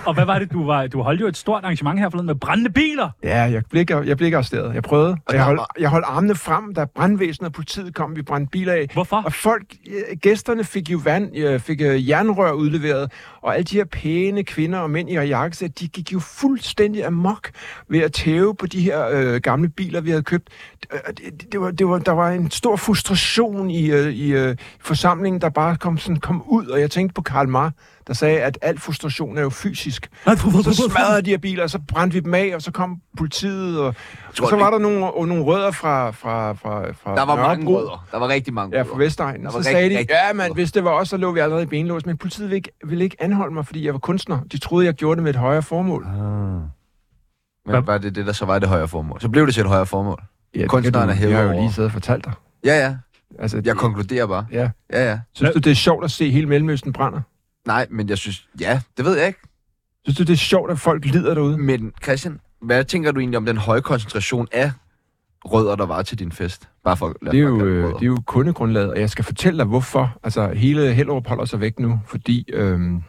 Og hvad var det, du var... Du holdt jo et stort arrangement her forleden med brændende biler.
Ja, jeg blev ikke, jeg blev ikke arresteret. Jeg prøvede. Og jeg,
der
holdt,
var-
jeg holdt armene frem, da brandvæsenet og politiet kom. Vi brændte biler af.
Hvorfor?
Og folk, øh, gæsterne fik jo vand, øh, fik øh, jernrør udleveret, og alle de her pæne kvinder og mænd i jakkesæt, de gik jo fuldstændig amok ved at tæve på de her øh, gamle biler, vi havde købt. Øh, Det, det var, det var, der var en stor frustration i, øh, i øh, forsamlingen, der bare kom, sådan, kom ud, og jeg tænkte på Karl Marx, der sagde, at al frustration er jo fysisk. Så smadrede de her biler, og så brændte vi dem af, og så kom politiet, og,
tror,
og så
det-
var der nogle, og nogle rødder fra, fra, fra, fra
Der var mange
Nørrebro.
rødder. Der var rigtig mange
Ja,
rødder.
fra Vestegnen.
Der
Og
var
så
rigtig,
sagde de,
rigtig
ja, men
rødder."
hvis det var os, så lå vi allerede i benlås. Men politiet ville ikke, ville ikke anholde mig, fordi jeg var kunstner. De troede, jeg gjorde det med et højere formål.
Men var det det, der så var det højere formål? Så blev det til et højere formål.
Ja,
Kunstneren er hævet
Jeg har jo
over.
lige siddet og fortalt dig.
Ja, ja.
Altså,
Jeg
det-
konkluderer bare.
Ja.
Ja, ja.
Synes du, det er sjovt at se hele Mellemøsten brænder?
Nej, men jeg synes... Ja, det ved jeg ikke.
Synes du, det er sjovt, at folk lider derude?
Men Christian, hvad tænker du egentlig om den høje koncentration af rødder, der var til din fest? Bare for at lade
Det er,
folk
jo,
kalde dem
øh,
rødder.
det er jo kundegrundlaget, og jeg skal fortælle dig, hvorfor. Altså, hele Hellerup holder sig væk nu, fordi øhm,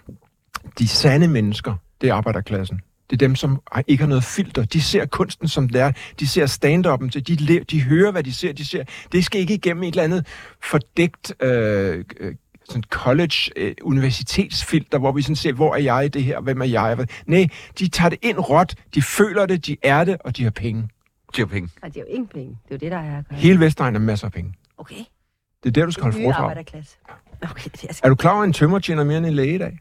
de sande mennesker, det er arbejderklassen. Det er dem, som har- ikke har noget filter. De ser kunsten, som det er. De ser stand-up'en til. De, le- de hører, hvad de ser. De ser. Det skal ikke igennem et eller andet fordækt øh, øh, sådan college, øh, universitetsfilter, hvor vi sådan ser, hvor er jeg i det her, hvem er jeg? Nej, de tager det ind råt, de føler det, de er det, og de har penge.
Tjener penge.
Ej, det er jo ingen penge. Det er jo det, der er.
Hele Vestegn har masser af penge.
Okay.
Det er der, du skal holde
Nye
foredrag.
arbejderklasse. Okay, det, er,
Er
skal...
du klar over, at en tømmer tjener mere end en læge i dag?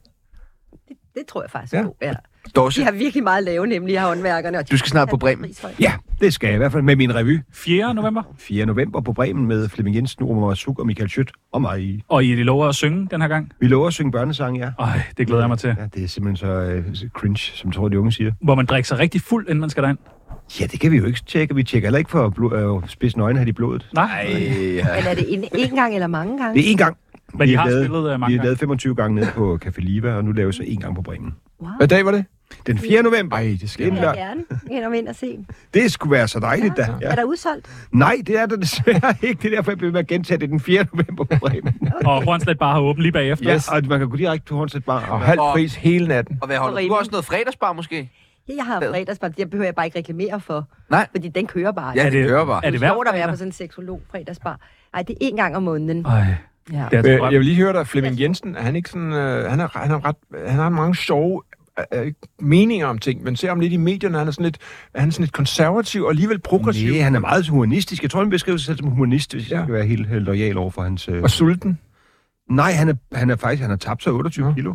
det tror jeg faktisk.
Ja.
Ja. Ja. De
Dorse,
har virkelig meget at lave, nemlig jeg har håndværkerne. Og de
Du skal snart på Bremen.
Ja, det skal jeg i hvert fald med min revy.
4. november.
4. november på Bremen med Flemming Jensen, Omar Suk og Michael Schødt og mig.
Og I lover at synge den her gang.
Vi lover at synge børnesange, ja.
Ej, det glæder jeg mig til.
Ja, det er simpelthen så øh, cringe, som tror, de unge siger.
Hvor man drikker sig rigtig fuld, inden man skal derind.
Ja, det kan vi jo ikke tjekke. Vi tjekker heller ikke for blod, øh, spidsen øjne, har de blodet.
Nej.
Men er det en, en gang eller mange gange?
Det er én gang.
Men I
har
har
lavet-
spillet øh,
vi
mange
har
gange.
lavet 25 gange nede på Café Liva, og nu laver vi så én gang på Bremen.
Wow.
Hvad dag var det?
Den 4. november.
Nej, det skal
Det er
jeg
en
Jeg
ikke.
vil
lørdag.
gerne ind og ind og se.
Det skulle være så dejligt, da.
Ja. Er
Ja.
der udsolgt?
Nej, det er der desværre ikke. Det er derfor, jeg bliver ved med at gentage det er den 4. november på Bremen.
Og Hornslet bare har åbent lige bagefter.
Ja, og man kan gå direkte på Hornset Bar.
Og
Og
halv
Og-
pris hele natten.
Og hvad holder du også noget fredagsbar måske?
Ja, jeg har
Hvad?
fredagsbar. Det behøver jeg bare ikke reklamere for.
Nej.
Fordi den kører bare.
Ja,
Er
det,
det-
det kører bare.
er
det
det
er
hver
sjovt at være
fredag?
på sådan en seksolog fredagsbar. Nej, det er en gang om måneden.
Ej,
Ja.
det er
Men
altså
Jeg vil lige høre dig, Flemming Jensen, er han ikke sådan, øh, han, er, han, er ret, han har mange sjove øh, øh, meninger om ting, men ser ham lidt i medierne, han er sådan lidt, han er sådan lidt konservativ og alligevel progressiv
Nej, han er meget humanistisk. Jeg tror, han beskriver sig selv som humanist, hvis ja. jeg
Ja.
skal være helt øh, lojal over for hans... Øh...
og sulten.
Nej, han er, han er faktisk... Han har tabt sig 28 kilo.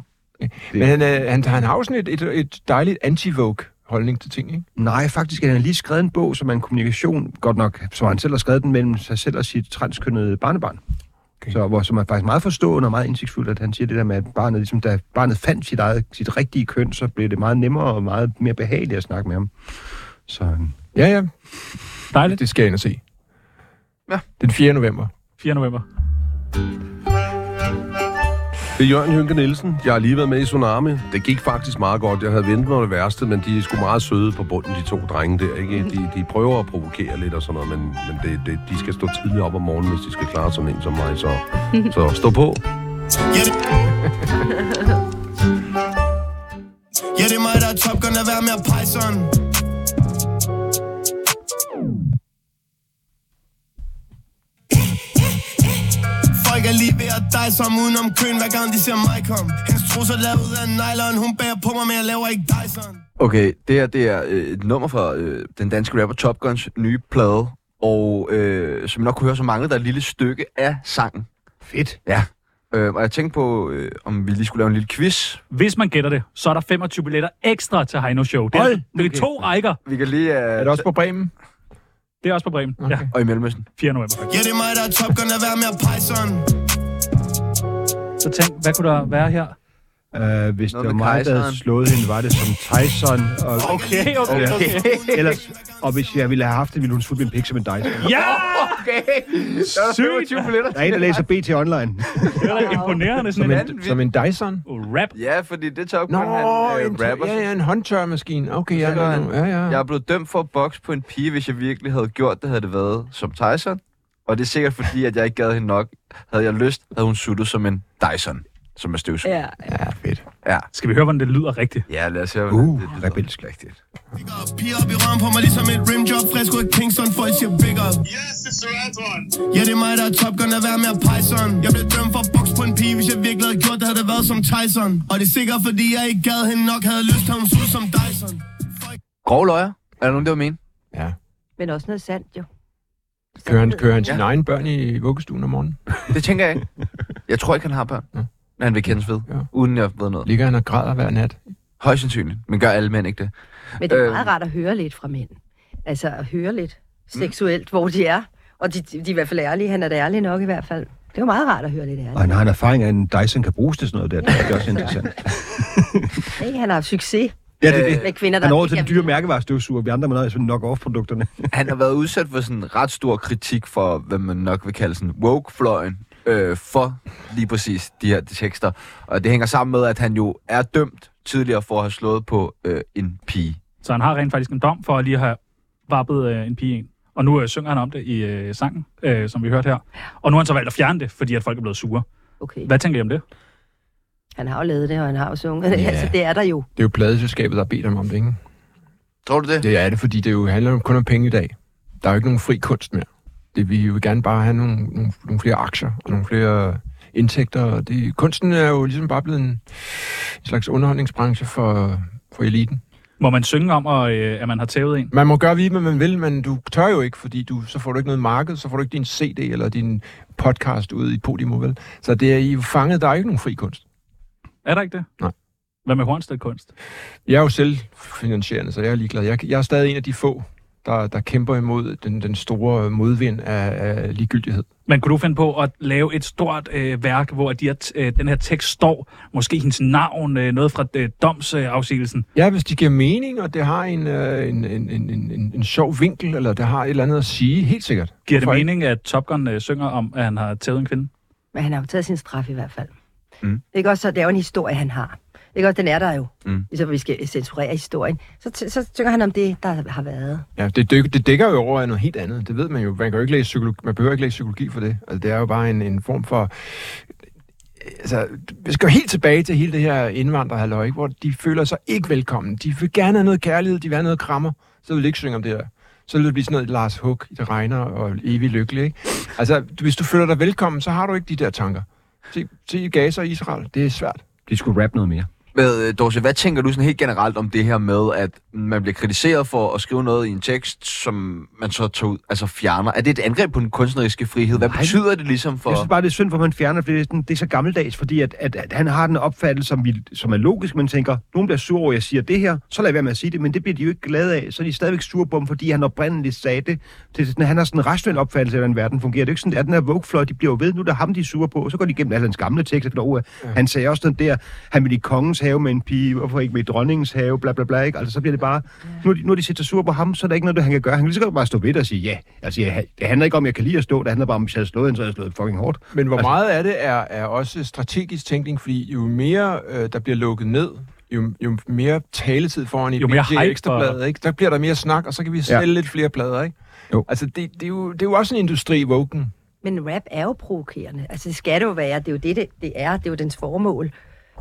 Men han, øh, han, han har jo sådan et, et, et dejligt anti-vogue holdning til ting, ikke?
Nej, faktisk han har lige skrevet en bog, som er en kommunikation, godt nok, som han selv har skrevet den mellem sig selv og sit transkønnede barnebarn. Okay. Så, hvor, som er faktisk meget forstående og meget indsigtsfuldt, at han siger det der med, at barnet, ligesom, da barnet fandt sit eget sit rigtige køn, så øhm, blev det meget nemmere og meget mere behageligt at snakke med ham. Så,
Ja, ja.
Dejligt.
Det skal jeg ind og se.
Ja.
Den 4. november.
4. november.
Det er Jørgen Hynke Nielsen. Jeg har lige været med i Tsunami. Det gik faktisk meget godt. Jeg havde ventet mig det værste, men de er sgu meget søde på bunden, de to drenge der. Ikke? De, de prøver at provokere lidt og sådan noget, men, men det, det, de skal stå tidligt op om morgenen, hvis de skal klare sådan en som mig. Så, så stå på.
Ja, det er mig, der er Top Gun, lad være med at pege sådan. Folk er lige ved at dej som udenom køen, hver gang de ser mig komme. Hendes trusser lavet ud af nylon, hun bærer på mig, men jeg laver ikke dig sådan.
Okay, det her det er øh, et nummer fra øh, den danske rapper Top Guns nye plade. Og øh, som I nok kunne høre, så mangler der et lille stykke af sangen.
Fedt.
Ja. Øh, og jeg tænkte på, øh, om vi lige skulle lave en lille quiz.
Hvis man gætter det, så er der 25 billetter ekstra til Heino Show. Det er,
Hold
altså- det er to rækker.
Vi kan lige... Øh,
Er det også på Bremen?
Det er også på Bremen. Okay. Ja,
Og i Mellemøsten.
4. november.
Ja, det er mig, der er Top Gun, lad være med at pege sådan.
Så tænk, hvad kunne der være her?
Uh, hvis
Noget
det var
med
mig, der havde
kejseren.
slået hende, var det som Tyson. Og,
Okay, okay, okay.
ellers, og hvis jeg ville have haft det, ville hun fuldt min pik som en Dyson.
Ja!
Okay.
Sygt!
billetter.
Der er en, der læser BT Online.
Det er da imponerende sådan
Som
en
en, som en Dyson?
oh, rap.
Ja, fordi det Top Gun,
Nå,
han øh,
en,
rapper.
ja, ja, en håndtørmaskine. Okay,
Så
ja,
gør
ja, ja.
Jeg er blevet dømt for at bokse på en pige, hvis jeg virkelig havde gjort det, havde det været som Tyson. Og det er sikkert fordi, at jeg ikke gad hende nok. Havde jeg lyst, havde hun suttet som en Dyson, som er støvsug.
Ja,
Ja, fedt.
Ja.
Skal vi høre, hvordan det lyder rigtigt?
ja, lad os høre,
Uh, rebelsk.
rigtigt.
Piger op i røven på mig ligesom et rimjob Frisk ud af Kingston, folk siger big up
Yes, it's the right one.
Ja, det er mig, der er Top Gun, lad være med at pege sådan Jeg blev dømt for boks på en pige, hvis jeg virkelig havde gjort det, havde det været som Tyson Og det er sikkert, fordi jeg ikke gad hende nok, havde lyst til at hun så ud som Dyson
Grove løjer. Er der nogen, der vil mene?
Ja.
men også noget sandt jo.
Kører han, kører han sine
Ja.
egne børn i vuggestuen om morgenen?
Det tænker jeg ikke. Jeg tror ikke, han har børn.
Ja.
Men han vil kendes ved,
Ja.
uden jeg ved noget.
Ligger han og græder hver nat?
Højst sandsynligt, men gør alle mænd ikke det.
Men det er
Øhm.
meget rart at høre lidt fra mænd. Altså at høre lidt seksuelt, hvor de er. Og de, de er i hvert fald ærlige. Han er da ærlig nok i hvert fald. Det er jo meget rart at høre lidt
Og
ærligt.
han har en erfaring af, at en Dyson kan bruges til sådan noget der. Det er også interessant.
Ikke? Han har haft succes
Ja, det er
Øh,
det.
med kvinder, der
Øh, Han er over til den
ikke
dyre mærkevarestøvsuger. Vi andre må altså nøjes med nok off-produkterne.
Han har været udsat for sådan ret stor kritik for, hvad man nok vil kalde sådan woke-fløjen, øh, for lige præcis de her tekster. Og det hænger sammen med, at han jo er dømt tidligere for at have slået på øh, en pige.
Så han har rent faktisk en dom for at lige have vappet øh, en pige ind. Og nu øh, synger han om det i øh, sangen, øh, som vi hørte her. Og nu har han så valgt at fjerne det, fordi at folk er blevet sure.
Okay,
Hvad tænker I om det?
han har jo lavet det, og han har jo sunget det.
Ja.
Altså, det er der jo.
Det er jo pladeselskabet, der har bedt ham om det, ikke?
Tror du det?
Det er det, fordi det jo handler jo kun om penge i dag. Der er jo ikke nogen fri kunst mere. Det, vi vil gerne bare have nogle, nogle, nogle flere aktier og nogle flere indtægter. og Det, kunsten er jo ligesom bare blevet en, en slags underholdningsbranche for, for eliten.
Må man synge om, at, øh, at man har tævet en?
Man må gøre hvad man vil, men du tør jo ikke, fordi du, så får du ikke noget marked, så får du ikke din CD eller din podcast ud i Podimo, vel? Så det er I er jo fanget, der er ikke nogen fri kunst.
Er der ikke det?
Nej.
Hvad med Hornstedt-kunst?
Jeg er jo selv finansierende, så jeg er ligeglad. Jeg, jeg er stadig en af de få, der, der kæmper imod den, den store modvind af, af ligegyldighed.
Men kunne du finde på at lave et stort øh, værk, hvor de her t- øh, den her tekst står, måske hendes navn, øh, noget fra øh, domsafsigelsen? Øh,
Ja, hvis det giver mening, og det har en, øh, en, en, en, en, en, en sjov vinkel, eller det har et eller andet at sige, helt sikkert.
Giver det
Hvorfor ikke?
mening, at Top Gun øh, synger om, at han har tævet en kvinde?
Men han har jo taget sin straf i hvert fald. Mm. Ikke også, så det er jo en historie, han har. Ikke også, den er der jo. Mm. Ligesom vi skal censurere historien. Så, t- så synger han om det, der har været.
Ja, det, dyk, det dækker jo over af noget helt andet. Det ved man jo. Man, kan jo ikke læse psykologi, man behøver ikke læse psykologi for det. Altså, det er jo bare en, en form for... Altså, vi skal jo helt tilbage til hele det her indvandrerhalløj, ikke? hvor de føler sig ikke velkommen. De vil gerne have noget kærlighed, de vil have noget krammer. Så vil de ikke synge om det her. Så vil det blive sådan noget Lars Hug, det regner og evig lykkelig. Ikke? Altså, hvis du føler dig velkommen, så har du ikke de der tanker. Se, se Gaza og Israel, det er svært.
De skulle rappe noget mere.
Med, øh, Dorse, hvad tænker du sådan helt generelt om det her med, at man bliver kritiseret for at skrive noget i en tekst, som man så tog ud, altså fjerner? Er det et angreb på den kunstneriske frihed? Hvad
Nej.
betyder det ligesom for...
Jeg synes bare, det er synd, for man fjerner, fordi det er sådan- det er så gammeldags, fordi at, at, at han har den opfattelse, som, vi, som er logisk. Man tænker, nogen bliver sur over, at jeg siger det her, så lad være med at sige det, men det bliver de jo ikke glade af. Så er de stadigvæk sure på ham, fordi han oprindeligt sagde det. det er sådan, han har sådan en rationel opfattelse af, hvordan verden fungerer. Det er jo ikke sådan, at den her vogue de bliver jo ved, nu er det ham, de er sure på, så går de igennem alle hans gamle tekster, for ja. han sagde også den der, han ville i kongens have med en pige, hvorfor ikke med i dronningens have, bla bla bla, ikke? Altså, så bliver det bare, nu, er de- nu er de sætter sur på ham, så er der ikke noget, han kan gøre. Han kan lige så godt bare stå ved det og sige, ja, altså, jeg, det handler ikke om, jeg kan lide at stå, det handler bare om, hvis jeg havde slået hende, så havde jeg slået fucking hårdt.
Men
Altså-
hvor meget af det er, er også strategisk tænkning, fordi jo mere øh, der bliver lukket ned, jo, jo mere taletid foran i
Jo mere hype
ekstrabladet, ikke? der bliver der mere snak, og så kan vi sælge ja. lidt flere plader. Ikke?
Jo.
Altså, det, det, er jo, det er jo også en industri, Woken.
Men rap er jo provokerende. Altså, det skal det jo være. Det er jo det, det, det er. Det er jo dens formål.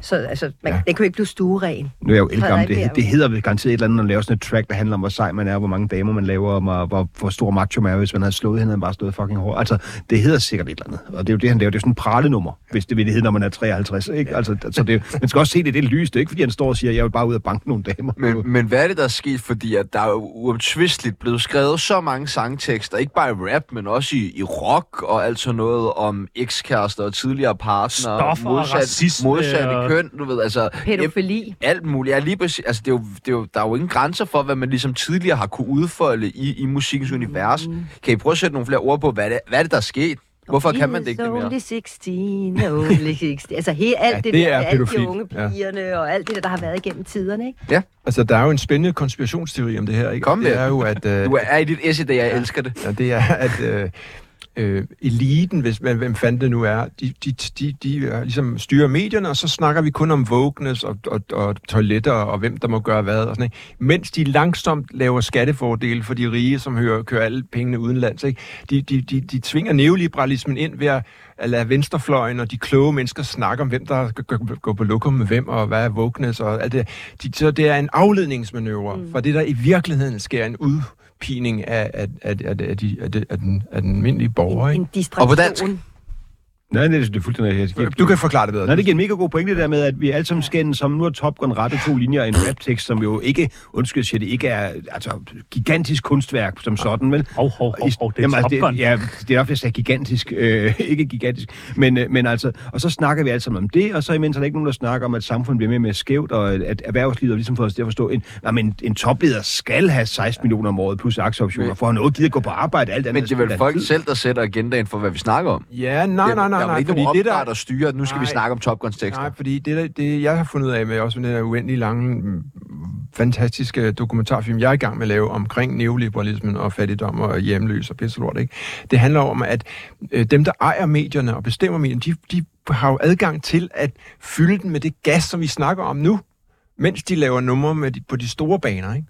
Så altså, man, ja. den kan jo ikke blive stueren.
Nu er jeg jo
Så er der
elgammel.
ikke
Det,
mere-
det hedder vel garanteret et eller andet, når man laver sådan et track, der handler om, hvor sej man er, hvor mange damer man laver, og hvor- hvor, hvor stor macho man er, hvis man havde slået hende, havde man bare stået fucking hårdt. Altså, det hedder sikkert et eller andet. Og det er jo det, han laver. Det er jo sådan en pralenummer, hvis det vil det hedde, når man er 53. Ikke? Altså, så det, man skal også se det i det lys. Det er ikke, fordi han står og siger, jeg vil bare ud og banke nogle damer.
Men, men hvad er det, der er sket? Fordi at der er jo uomtvisteligt blevet skrevet så mange sangtekster, ikke bare i rap, men også i, i rock og alt sådan noget om ekskærester og tidligere partnere.
Stoffer og racisme
modsatte
og-
køn, du ved, altså...
Pædofili.
Alt muligt. Ja, lige præcis. Altså, det er jo, det er jo, der er jo ingen grænser for, hvad man ligesom tidligere har kunne udfolde i, i musikkens
Mm.
univers. Kan I prøve at sætte nogle flere ord på, hvad er det, hvad er det der er sket? Hvorfor kan man det ikke det mere?
Only 16, only 16. Altså, hele alt ja,
Ja,
det,
det
der,
er
med alle
pædofil.
de unge
Ja.
pigerne, ja. og alt det der, der har været igennem tiderne, ikke?
Altså, der er jo en spændende konspirationsteori om det her. Ikke?
Kom med
det er
den.
jo, at, øh,
Du er i dit esse, det jeg elsker det.
Ja, det er, at øh, øh, eliten, hvis man, hvem fanden det nu er, de, de, de, de er, ligesom styrer medierne, og så snakker vi kun om wokeness og, og, og toiletter, og hvem der må gøre hvad, og sådan noget, mens de langsomt laver skattefordele for de rige, som hører, kører alle pengene udenlands. Ikke? De, de, de, de tvinger neoliberalismen ind ved at, at lade venstrefløjen og de kloge mennesker snakke om, hvem der skal gå- gå på lokum med hvem, og hvad er wokeness, og alt det. De, så det er en afledningsmanøvre mm. for det, der i virkeligheden sker en ud pining af, af, af, af, af, de, af, de, af, den, af den almindelige borger.
En,
Ikke?
en distraktion.
dansk?
Nej, nej, det er- det er fuldstændig... Jeg giver-
Du kan forklare det bedre.
Nej, det giver en mega god pointe det der med, at vi alle sammen skændes som nu er Top Gun rettet to linjer i
Ah.
en raptekst, som jo ikke, undskyld, jeg siger det, ikke er altså, gigantisk kunstværk som sådan, vel?
Hov, hov, hov, hov, det er
Jamen, altså,
Top Gun.
Det, ja, det er derfor, jeg sagde gigantisk. Øh, ikke gigantisk, men, øh, men altså... Og så snakker vi alle sammen om det, og så imens er der ikke nogen, der snakker om, at samfundet bliver mere og mere skævt, og at erhvervslivet har ligesom fået os til at forstå, en, jamen, en, en topleder skal have 16 millioner om året plus aktieoptioner, for at han overhovedet gider gå på arbejde. Alt andet
Men det er vel
spildt
folk
altid.
selv, der sætter agendaen for, hvad vi snakker om.
Ja, nej,
Det-
nej, nej,
Der er
nej.
vel ikke
fordi
nogen
det
opdrag,
der,
der styrer, at nu skal vi
Nej.
snakke om Top Guns tekster.
nej, fordi det, der, det, jeg har fundet ud af med også med den der uendelig lange, mm, fantastiske dokumentarfilm, jeg er i gang med at lave omkring neoliberalismen og fattigdom og hjemløs og pisselort, ikke? Det handler om, at øh, dem, der ejer medierne og bestemmer medierne, de, de har jo adgang til at fylde den med det gas, som vi snakker om nu, mens de laver numre med de, på de store baner, ikke?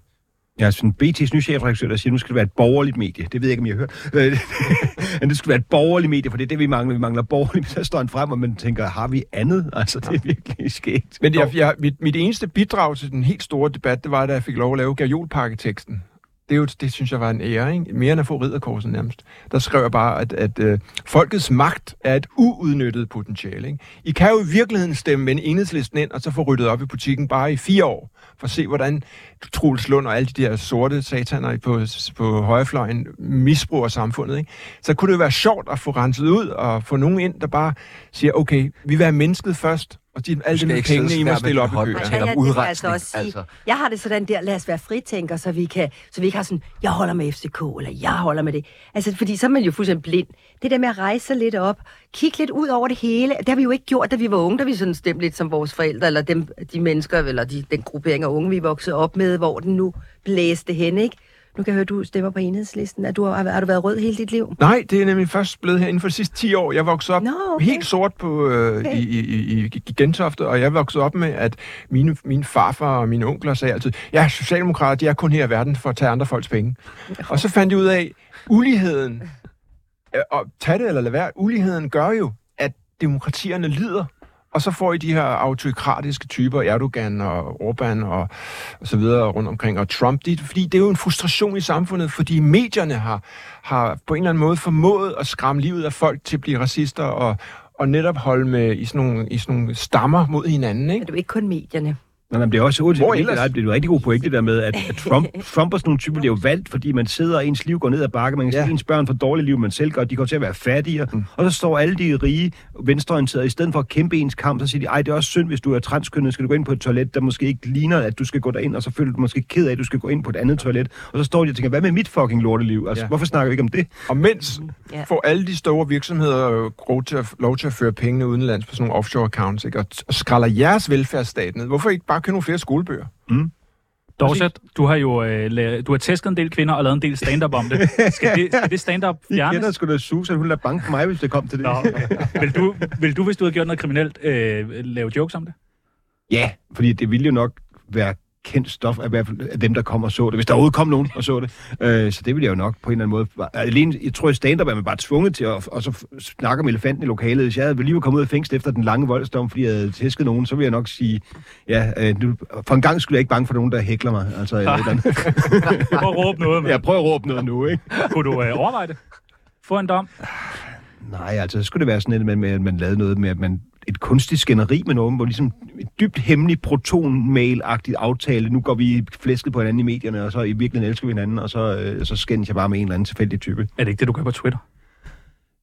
Ja, sådan BT's nye chefredaktør, der siger, nu skal det være et borgerligt medie. Det ved jeg ikke, om I har hørt. Øh, Men det skal være et borgerligt medie, for det er det, vi mangler. Vi mangler borgerligt. Så står han frem, og man tænker, har vi andet? Altså, det er virkelig skægt.
Men jeg, jeg, mit, mit eneste bidrag til den helt store debat, det var, da jeg fik lov at lave gajolpakketeksten. Det, er jo, det synes jeg var en ære, ikke? mere end at få ridderkorset nærmest. Der skrev jeg bare, at, at øh, folkets magt er et uudnyttet potentiale. Ikke? I kan jo i virkeligheden stemme med en enhedslisten ind, og så få ryddet op i butikken bare i fire år, for at se, hvordan Troels Lund og alle de der sorte sataner på, på højrefløjen misbruger samfundet. Ikke? Så kunne det jo være sjovt at få renset ud og få nogen ind, der bare siger, okay, vi vil have mennesket først, og de, alle
skal
dem med
ikke sidde
pengene, I
sådan
må
der
stille
med
op i
din
køen.
hånd.
Ja,
taler om
ja, det vil jeg altså
udrensning,
også sige.
altså.
Altså. Jeg har det sådan der, lad os være fritænker, så vi, kan, så vi ikke har sådan, jeg holder med FCK, eller jeg holder med det. Altså, fordi så er man jo fuldstændig blind. Det der med at rejse sig lidt op, kigge lidt ud over det hele, det har vi jo ikke gjort, da vi var unge, da vi sådan stemte lidt som vores forældre, eller dem, de mennesker, eller de, den gruppering af unge, vi voksede op med, hvor den nu blæste hen, ikke? Nu kan jeg høre, du stemmer på enhedslisten. Er du, har, har du været rød hele dit liv?
Nej, det er nemlig først blevet her inden for de sidste 10 år. Jeg voksede op
Nå, okay.
helt sort på, øh, okay. i, i, i, i Gentofte, og jeg voksede op med, at mine, mine farfar og mine onkler sagde altid, jeg er socialdemokrat, jeg er kun her i verden for at tage andre folks penge. Og så fandt jeg ud af, uligheden, øh, og tag det eller lad være, uligheden gør jo, at demokratierne lider. Og så får I de her autokratiske typer, Erdogan og Orbán og, og så videre rundt omkring, og Trump, det, fordi det er jo en frustration i samfundet, fordi medierne har, har på en eller anden måde formået at skræmme livet af folk til at blive racister og, og netop holde med i sådan, nogle, i sådan nogle stammer mod hinanden,
Er
ikke?
du ikke kun medierne?
Nej, nej, men det er også uanset,
Hvor
Hvor ellers?
ellers?
Nej, det er jo en rigtig god pointe, det der med, at, at Trump, Trump og sådan nogle typer bliver jo valgt, fordi man sidder, og ens liv går ned ad bakke, man kan ja.
Ja.
se ens børn får dårligt liv, man selv gør, de kommer til at være fattigere, mm. og så står alle de rige venstreorienterede, i stedet for at kæmpe ens kamp, så siger de, ej, det er også synd, hvis du er transkønnet, skal du gå ind på et toilet, der måske ikke ligner, at du skal gå derind, og så føler du dig måske ked af, at du skal gå ind på et andet toilet, og så står de og tænker, hvad med mit fucking lorteliv? Altså, ja.
Ja.
hvorfor snakker vi ikke om det?
Og mens
Ja.
ja. får alle de store virksomheder øh, lov til, at, lov til at føre pengene udenlands på sådan nogle offshore accounts, ikke? og, t- og skralder jeres velfærdsstat ned. Hvorfor ikke bare købe nogle flere skolebøger?
Dorset, du har jo øh, la- du har tæsket en del kvinder og lavet en del stand-up om det. Skal det, skal det stand-up
I ja, kender
fjernes?
sgu da Susan, hun lader banke mig, hvis det kom til det.
Nå. Vil, du, vil du, hvis du havde gjort noget kriminelt, øh, lave jokes om det?
Ja, fordi det ville jo nok være kendt stof af, i hvert fald af dem, der kom og så det. Hvis der overhovedet kom nogen og så det. Øh, så det ville jeg jo nok på en eller anden måde... bare- Alene, jeg tror, i stand-up er man bare tvunget til at og så f- snakke om elefanten i lokalet. Hvis jeg havde lige var kommet ud af fængsel efter den lange voldsdom, fordi jeg havde tæsket nogen, så ville jeg nok sige, ja, øh, nu, for en gang skulle jeg ikke bange for nogen, der hækler mig. Altså, eller et eller andet.
Prøv at råbe noget,
jeg
men
prøver at råbe noget nu, ikke?
kunne du øh, overveje det? Få en dom.
Nej, altså, så skulle det være sådan et, med, med, at man lavede noget med, at man et kunstigt skænderi med nogen, hvor ligesom et dybt hemmelig proton-mail-agtigt aftale, nu går vi flæsket på hinanden i medierne, og så i virkeligheden elsker vi hinanden, og så, øh, så skændes jeg bare med en eller anden tilfældig type.
Er det ikke det, du gør på Twitter?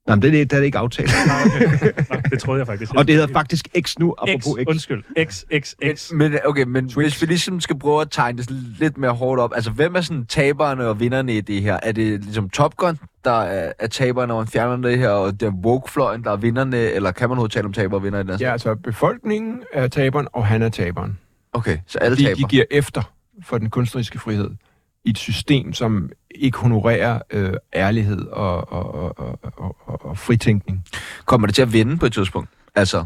Nej, men det, er det, det er det ikke aftalt.
Nå, det troede jeg faktisk.
og det hedder faktisk X nu, apropos
X.
X.
Undskyld. X, X, X.
Men, okay, men hvis vi ligesom skal prøve at tegne det sådan lidt mere hårdt op, altså hvem er sådan taberne og vinderne i det her? Er det ligesom Top Gun, der er, er taberne og fjernerne det her, og det er woke-fløjen, der er vinderne, eller kan man overhovedet tale om taber og vinder i det? her?
Ja, altså befolkningen er taberen, og han er taberen.
Okay, så alle
De, de
taber.
giver efter for den kunstneriske frihed i et system, som ikke honorerer øh, ærlighed og, og, og, og, og, og- og fritænkning.
Kommer det til at vinde på et tidspunkt? Altså,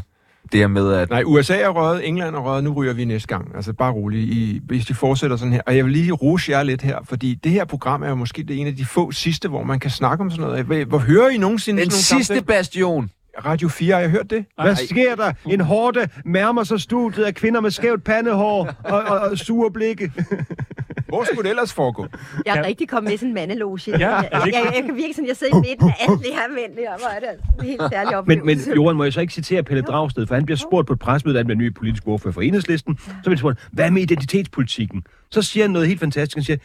det her med, at
Nej, USA er røget, England er røget, nu ryger vi næste gang. Altså bare roligt, I, hvis de fortsætter sådan her. Og jeg vil lige rose jer lidt her, fordi det her program er jo måske det ene af de få sidste, hvor man kan snakke om sådan noget. Hvad- Hvor hører I nogensinde
den
sådan nogle
sidste bastion,
samtaler? Radio 4, har jeg hørt det?
Hvad sker der? En hårde nærmer sig studiet af kvinder med skævt pandehår og, og, og sure blikke.
Hvor skulle det ellers foregå?
Jeg er
Ja.
rigtig kommet med sådan en mandeloge. Ja,
er
jeg,
det
jeg,
ikke?
jeg, kan virkelig sådan, jeg sidder i midten af alle de her mænd der, hvor er det altså en helt særlig
Men, men
oplevelse.
Johan, må jeg så ikke citere Pelle Dragsted, for han bliver spurgt på et presmøde, at han bliver ny politisk ordfører for Enhedslisten. Så bliver han spurgt, hvad med identitetspolitikken? Så siger han noget helt fantastisk. Han siger,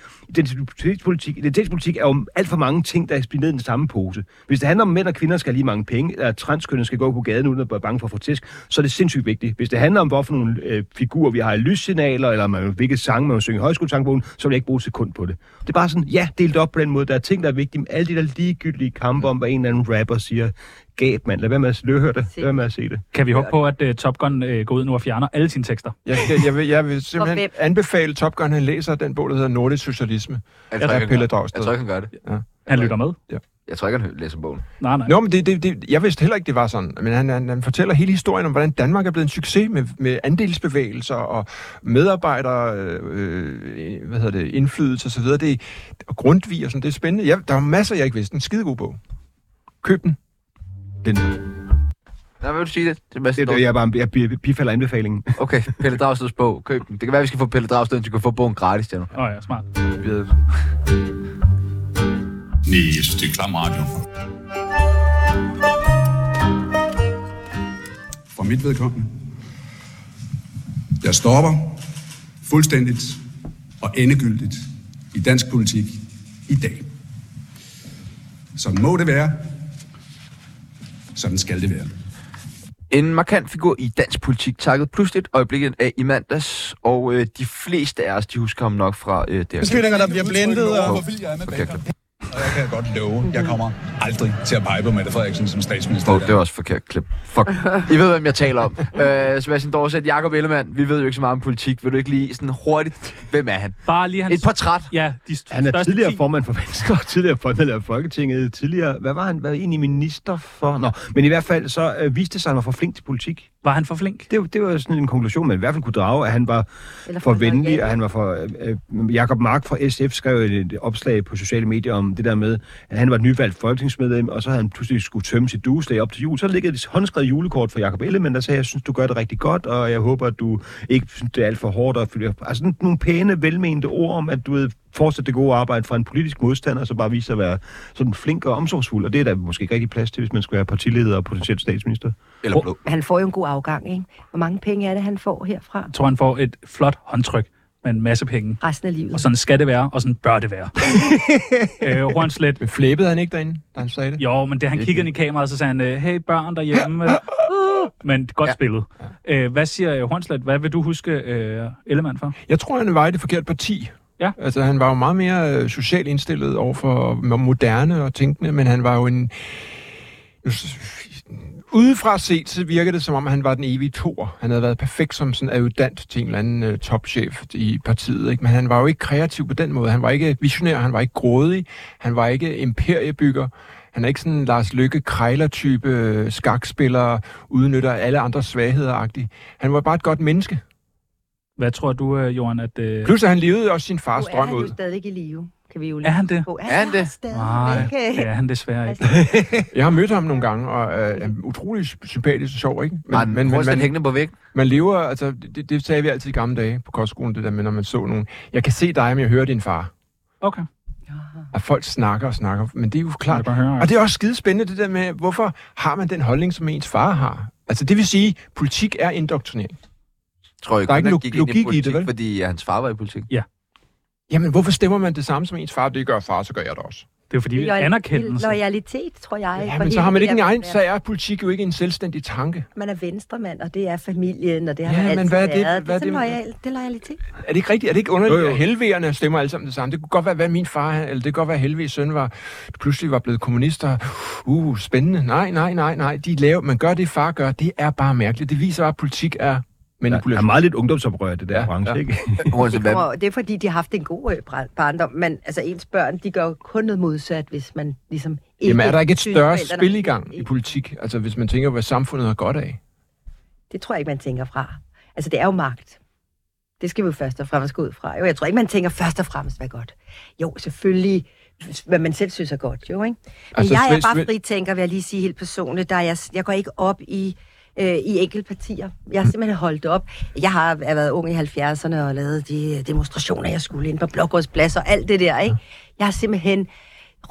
identitetspolitik, identitetspolitik er jo alt for mange ting, der er spillet ned i den samme pose. Hvis det handler om, at mænd og kvinder skal have lige mange penge, eller at transkønnet skal gå på gaden uden at være bange for at få tæsk, så er det sindssygt vigtigt. Hvis det handler om, hvorfor nogle øh, figurer vi har i lyssignaler, eller man, hvilke sange man vil synge i højskolesangbogen, så vil jeg ikke bruge et sekund på det. Det er bare sådan, ja, delt op på den måde. Der er ting, der er vigtige, men alle de der ligegyldige kampe om, hvad en eller anden rapper siger, gab, mand. Lad være med at høre det. Lad være med at se det.
Kan vi håbe på, at uh, Top Gun uh, går ud nu og fjerner alle sine tekster?
Jeg, skal, jeg, vil, jeg vil simpelthen
hvem?
anbefale Top Gun, han læser den bog, der hedder Nordisk Socialisme.
jeg tror,
Jeg
ikke, han gør,
er Pelle
jeg
Dragsted.
tror ikke, han gør det.
Han lytter med.
Jeg tror ikke, han hø- læser bogen.
Nej, nej.
Nå, men det, det, det, jeg vidste heller ikke, det var sådan. Men han, han, han fortæller hele historien om, hvordan Danmark er blevet en succes med, med andelsbevægelser og medarbejdere, øh, øh, hvad hedder det, indflydelse osv. Det, og Grundtvig og sådan, det er spændende. Jeg, der er masser, jeg ikke vidste. En skidegod bog. Køb den.
Nej, hvad vil du sige det? Sebastian
Det er det, jeg bare jeg bi- bifalder anbefalingen.
Okay, Pelle Dragsteds bog. Køb den. Det kan være, vi skal få Pelle Dragsted, så du kan få bogen gratis, Tjerno.
Åh oh, ja, smart.
Næste Klam Radio. For mit vedkommende. Jeg stopper fuldstændigt og endegyldigt i dansk politik i dag. Sådan må det være. Sådan skal det være.
En markant figur i dansk politik takket pludseligt øjeblikket af i mandags, og øh, de fleste af os, de husker ham nok fra øh, det her.
Beskyldninger, der bliver blindet. Og...
Hov,
Hvorfor jeg er med
okay,
Baker.
jeg
Og jeg kan godt love, jeg kommer aldrig til at pege på Mette Frederiksen som statsminister. i
Hov,
Danmark.
det var også forkert klip. Fuck. I ved, hvem jeg taler om. Øh, Sebastian Dorset, Jakob Ellemann, vi ved jo ikke så meget om politik. Vil du ikke lige sådan hurtigt, hvem er han?
Bare lige hans...
Et portræt.
Ja, de st-
Han er
største
tidligere
10.
formand for Venstre, tidligere formand af Folketinget, tidligere... Hvad var han? Hvad var egentlig minister for? Nå, men i hvert fald så øh, viste det sig, at han var for flink til politik.
Var han for flink?
Det, det var sådan en konklusion, man i hvert fald kunne drage, at han var
Eller
for
for
venlig,
loyal.
og han var for... Øh, øh, Jakob Mark fra SF skrev et, et opslag på sociale medier om det der med, at han var et nyvalgt folketingsmedlem, og så havde han pludselig skulle tømme sit dueslag op til jul. Så ligger et håndskrevet julekort fra Jakob Ellemann, der sagde, jeg synes, du gør det rigtig godt, og jeg håber, at du ikke synes, det er alt for hårdt. Og, altså sådan nogle pæne, velmenende ord om, at du ved, fortsætte det gode arbejde fra en politisk modstander, og så bare vise sig at være sådan flink og omsorgsfuld. Og det er der måske ikke rigtig plads til, hvis man skal være partileder og potentielt statsminister.
Eller blå.
Han får jo en god afgang, ikke? Hvor mange penge er det, han får herfra?
Jeg tror, han får et flot håndtryk med en masse penge.
Resten af livet.
Og sådan skal det være, og sådan bør det være. øh, Hornslet.
Men flæbede han ikke derinde, da han sagde det?
Jo, men det han kiggede ind i kameraet, så sagde han, øh, hey børn derhjemme. øh, uh, Men godt ja. spillet. Øh, hvad siger øh, Hornslet? Hvad vil du huske øh, Ellemann for?
Jeg tror, han var i det forkerte parti.
Ja.
Altså, han var jo meget mere øh, socialt indstillet over for moderne og tænkende, men han var jo en... nu s- Udefra set, så virker det som om, han var den evige tor. Han havde været perfekt som sådan adjudant til en eller anden øh, topchef i partiet, ikke? men han var jo ikke kreativ på den måde. Han var ikke visionær, han var ikke grådig, han var ikke imperiebygger. Han er ikke sådan en Lars Lykke krejler-type øh, skakspiller, udnytter alle andres svagheder-agtig. Han var bare et godt menneske.
Hvad tror du, øh, Johan, at... Øh,
Plus, at han levede også sin fars
Nu er
drøm
han
ud.
jo stadigvæk i live, kan vi jo
er
lige
han det?
på.
Er han det?
Nej,
Nej.
det er han desværre ikke.
Altså.
Jeg har mødt ham nogle gange, og øh, er utrolig sympatisk og sjov, ikke?
Men, men, men,
man,
hængende på væggen.
man lever, altså, det, det sagde vi altid i gamle dage på kostskolen, det der med, når man så nogen. Jeg kan se dig, men jeg hører din far.
Okay.
At folk snakker og snakker, men det er jo
Kan jeg
klart.
bare høre,
Og det er også skide spændende, det der med, hvorfor har man den holdning, som ens far har? Altså, det vil sige, politik er indoktrinering.
Tror jeg
Der er
kun,
ikke
han
log-
gik ind
logik i det,
politik,
vel?
Fordi øh, hans far var i politik.
Jamen, hvorfor stemmer man det samme som ens far? Det gør far, så gør jeg det også.
det er jo fordi, vi anerkendelse.
Loyalitet, tror jeg.
Ja,
for
men så
hele
har man
det
ikke en
der-
egen, så er politik jo ikke en selvstændig tanke.
Man er venstremand, og det er familien, og det har
Ja,
man
men
altid
hvad er det-
været.
hvad er
det, er
det-
sådan loyal, det er loyalitet.
Er det ikke rigtigt? Er det ikke underligt,
Jo, jo.
at helvegerne stemmer alle sammen det samme? Det kunne godt være, hvad min far, han- eller det kunne godt være, at Helvegs søn var, pludselig var blevet kommunister. Uh, spændende. Nej, nej, nej, nej. De laver, man gør det, far gør. Det er bare mærkeligt. Det viser bare, at politik er
Der er
manipulation.
meget lidt ungdomsoprør i det der
Ja,
ja, branche,
ja.
ja. ikke?
Uanset hvad.
Og det er fordi, de har haft en god øh, bra- barndom, men altså ens børn, de gør jo kun noget modsat, hvis man ligesom ikke...
Jamen, er der ikke et
synes,
større
forældrene-
spil i gang i politik? Altså, hvis man tænker, hvad samfundet har godt af.
Det tror jeg ikke, man tænker fra. Altså, det er jo magt. Det skal vi jo først og fremmest gå ud fra. Jo, jeg tror ikke, man tænker først og fremmest, hvad er godt. Jo, selvfølgelig, hvad man selv synes er godt, jo, ikke? Men altså,
Altså,
jeg er
Svend-
bare
Svend-
fritænker, vil jeg lige sige helt personligt. Der er jeg, jeg går ikke op i, øh, i enkeltpartier. Jeg har simpelthen holdt op. Jeg har jeg har været ung i 70'erne og lavet de øh, demonstrationer, jeg skulle ind på Blågårdsplads og alt det der, ikke? Jeg har simpelthen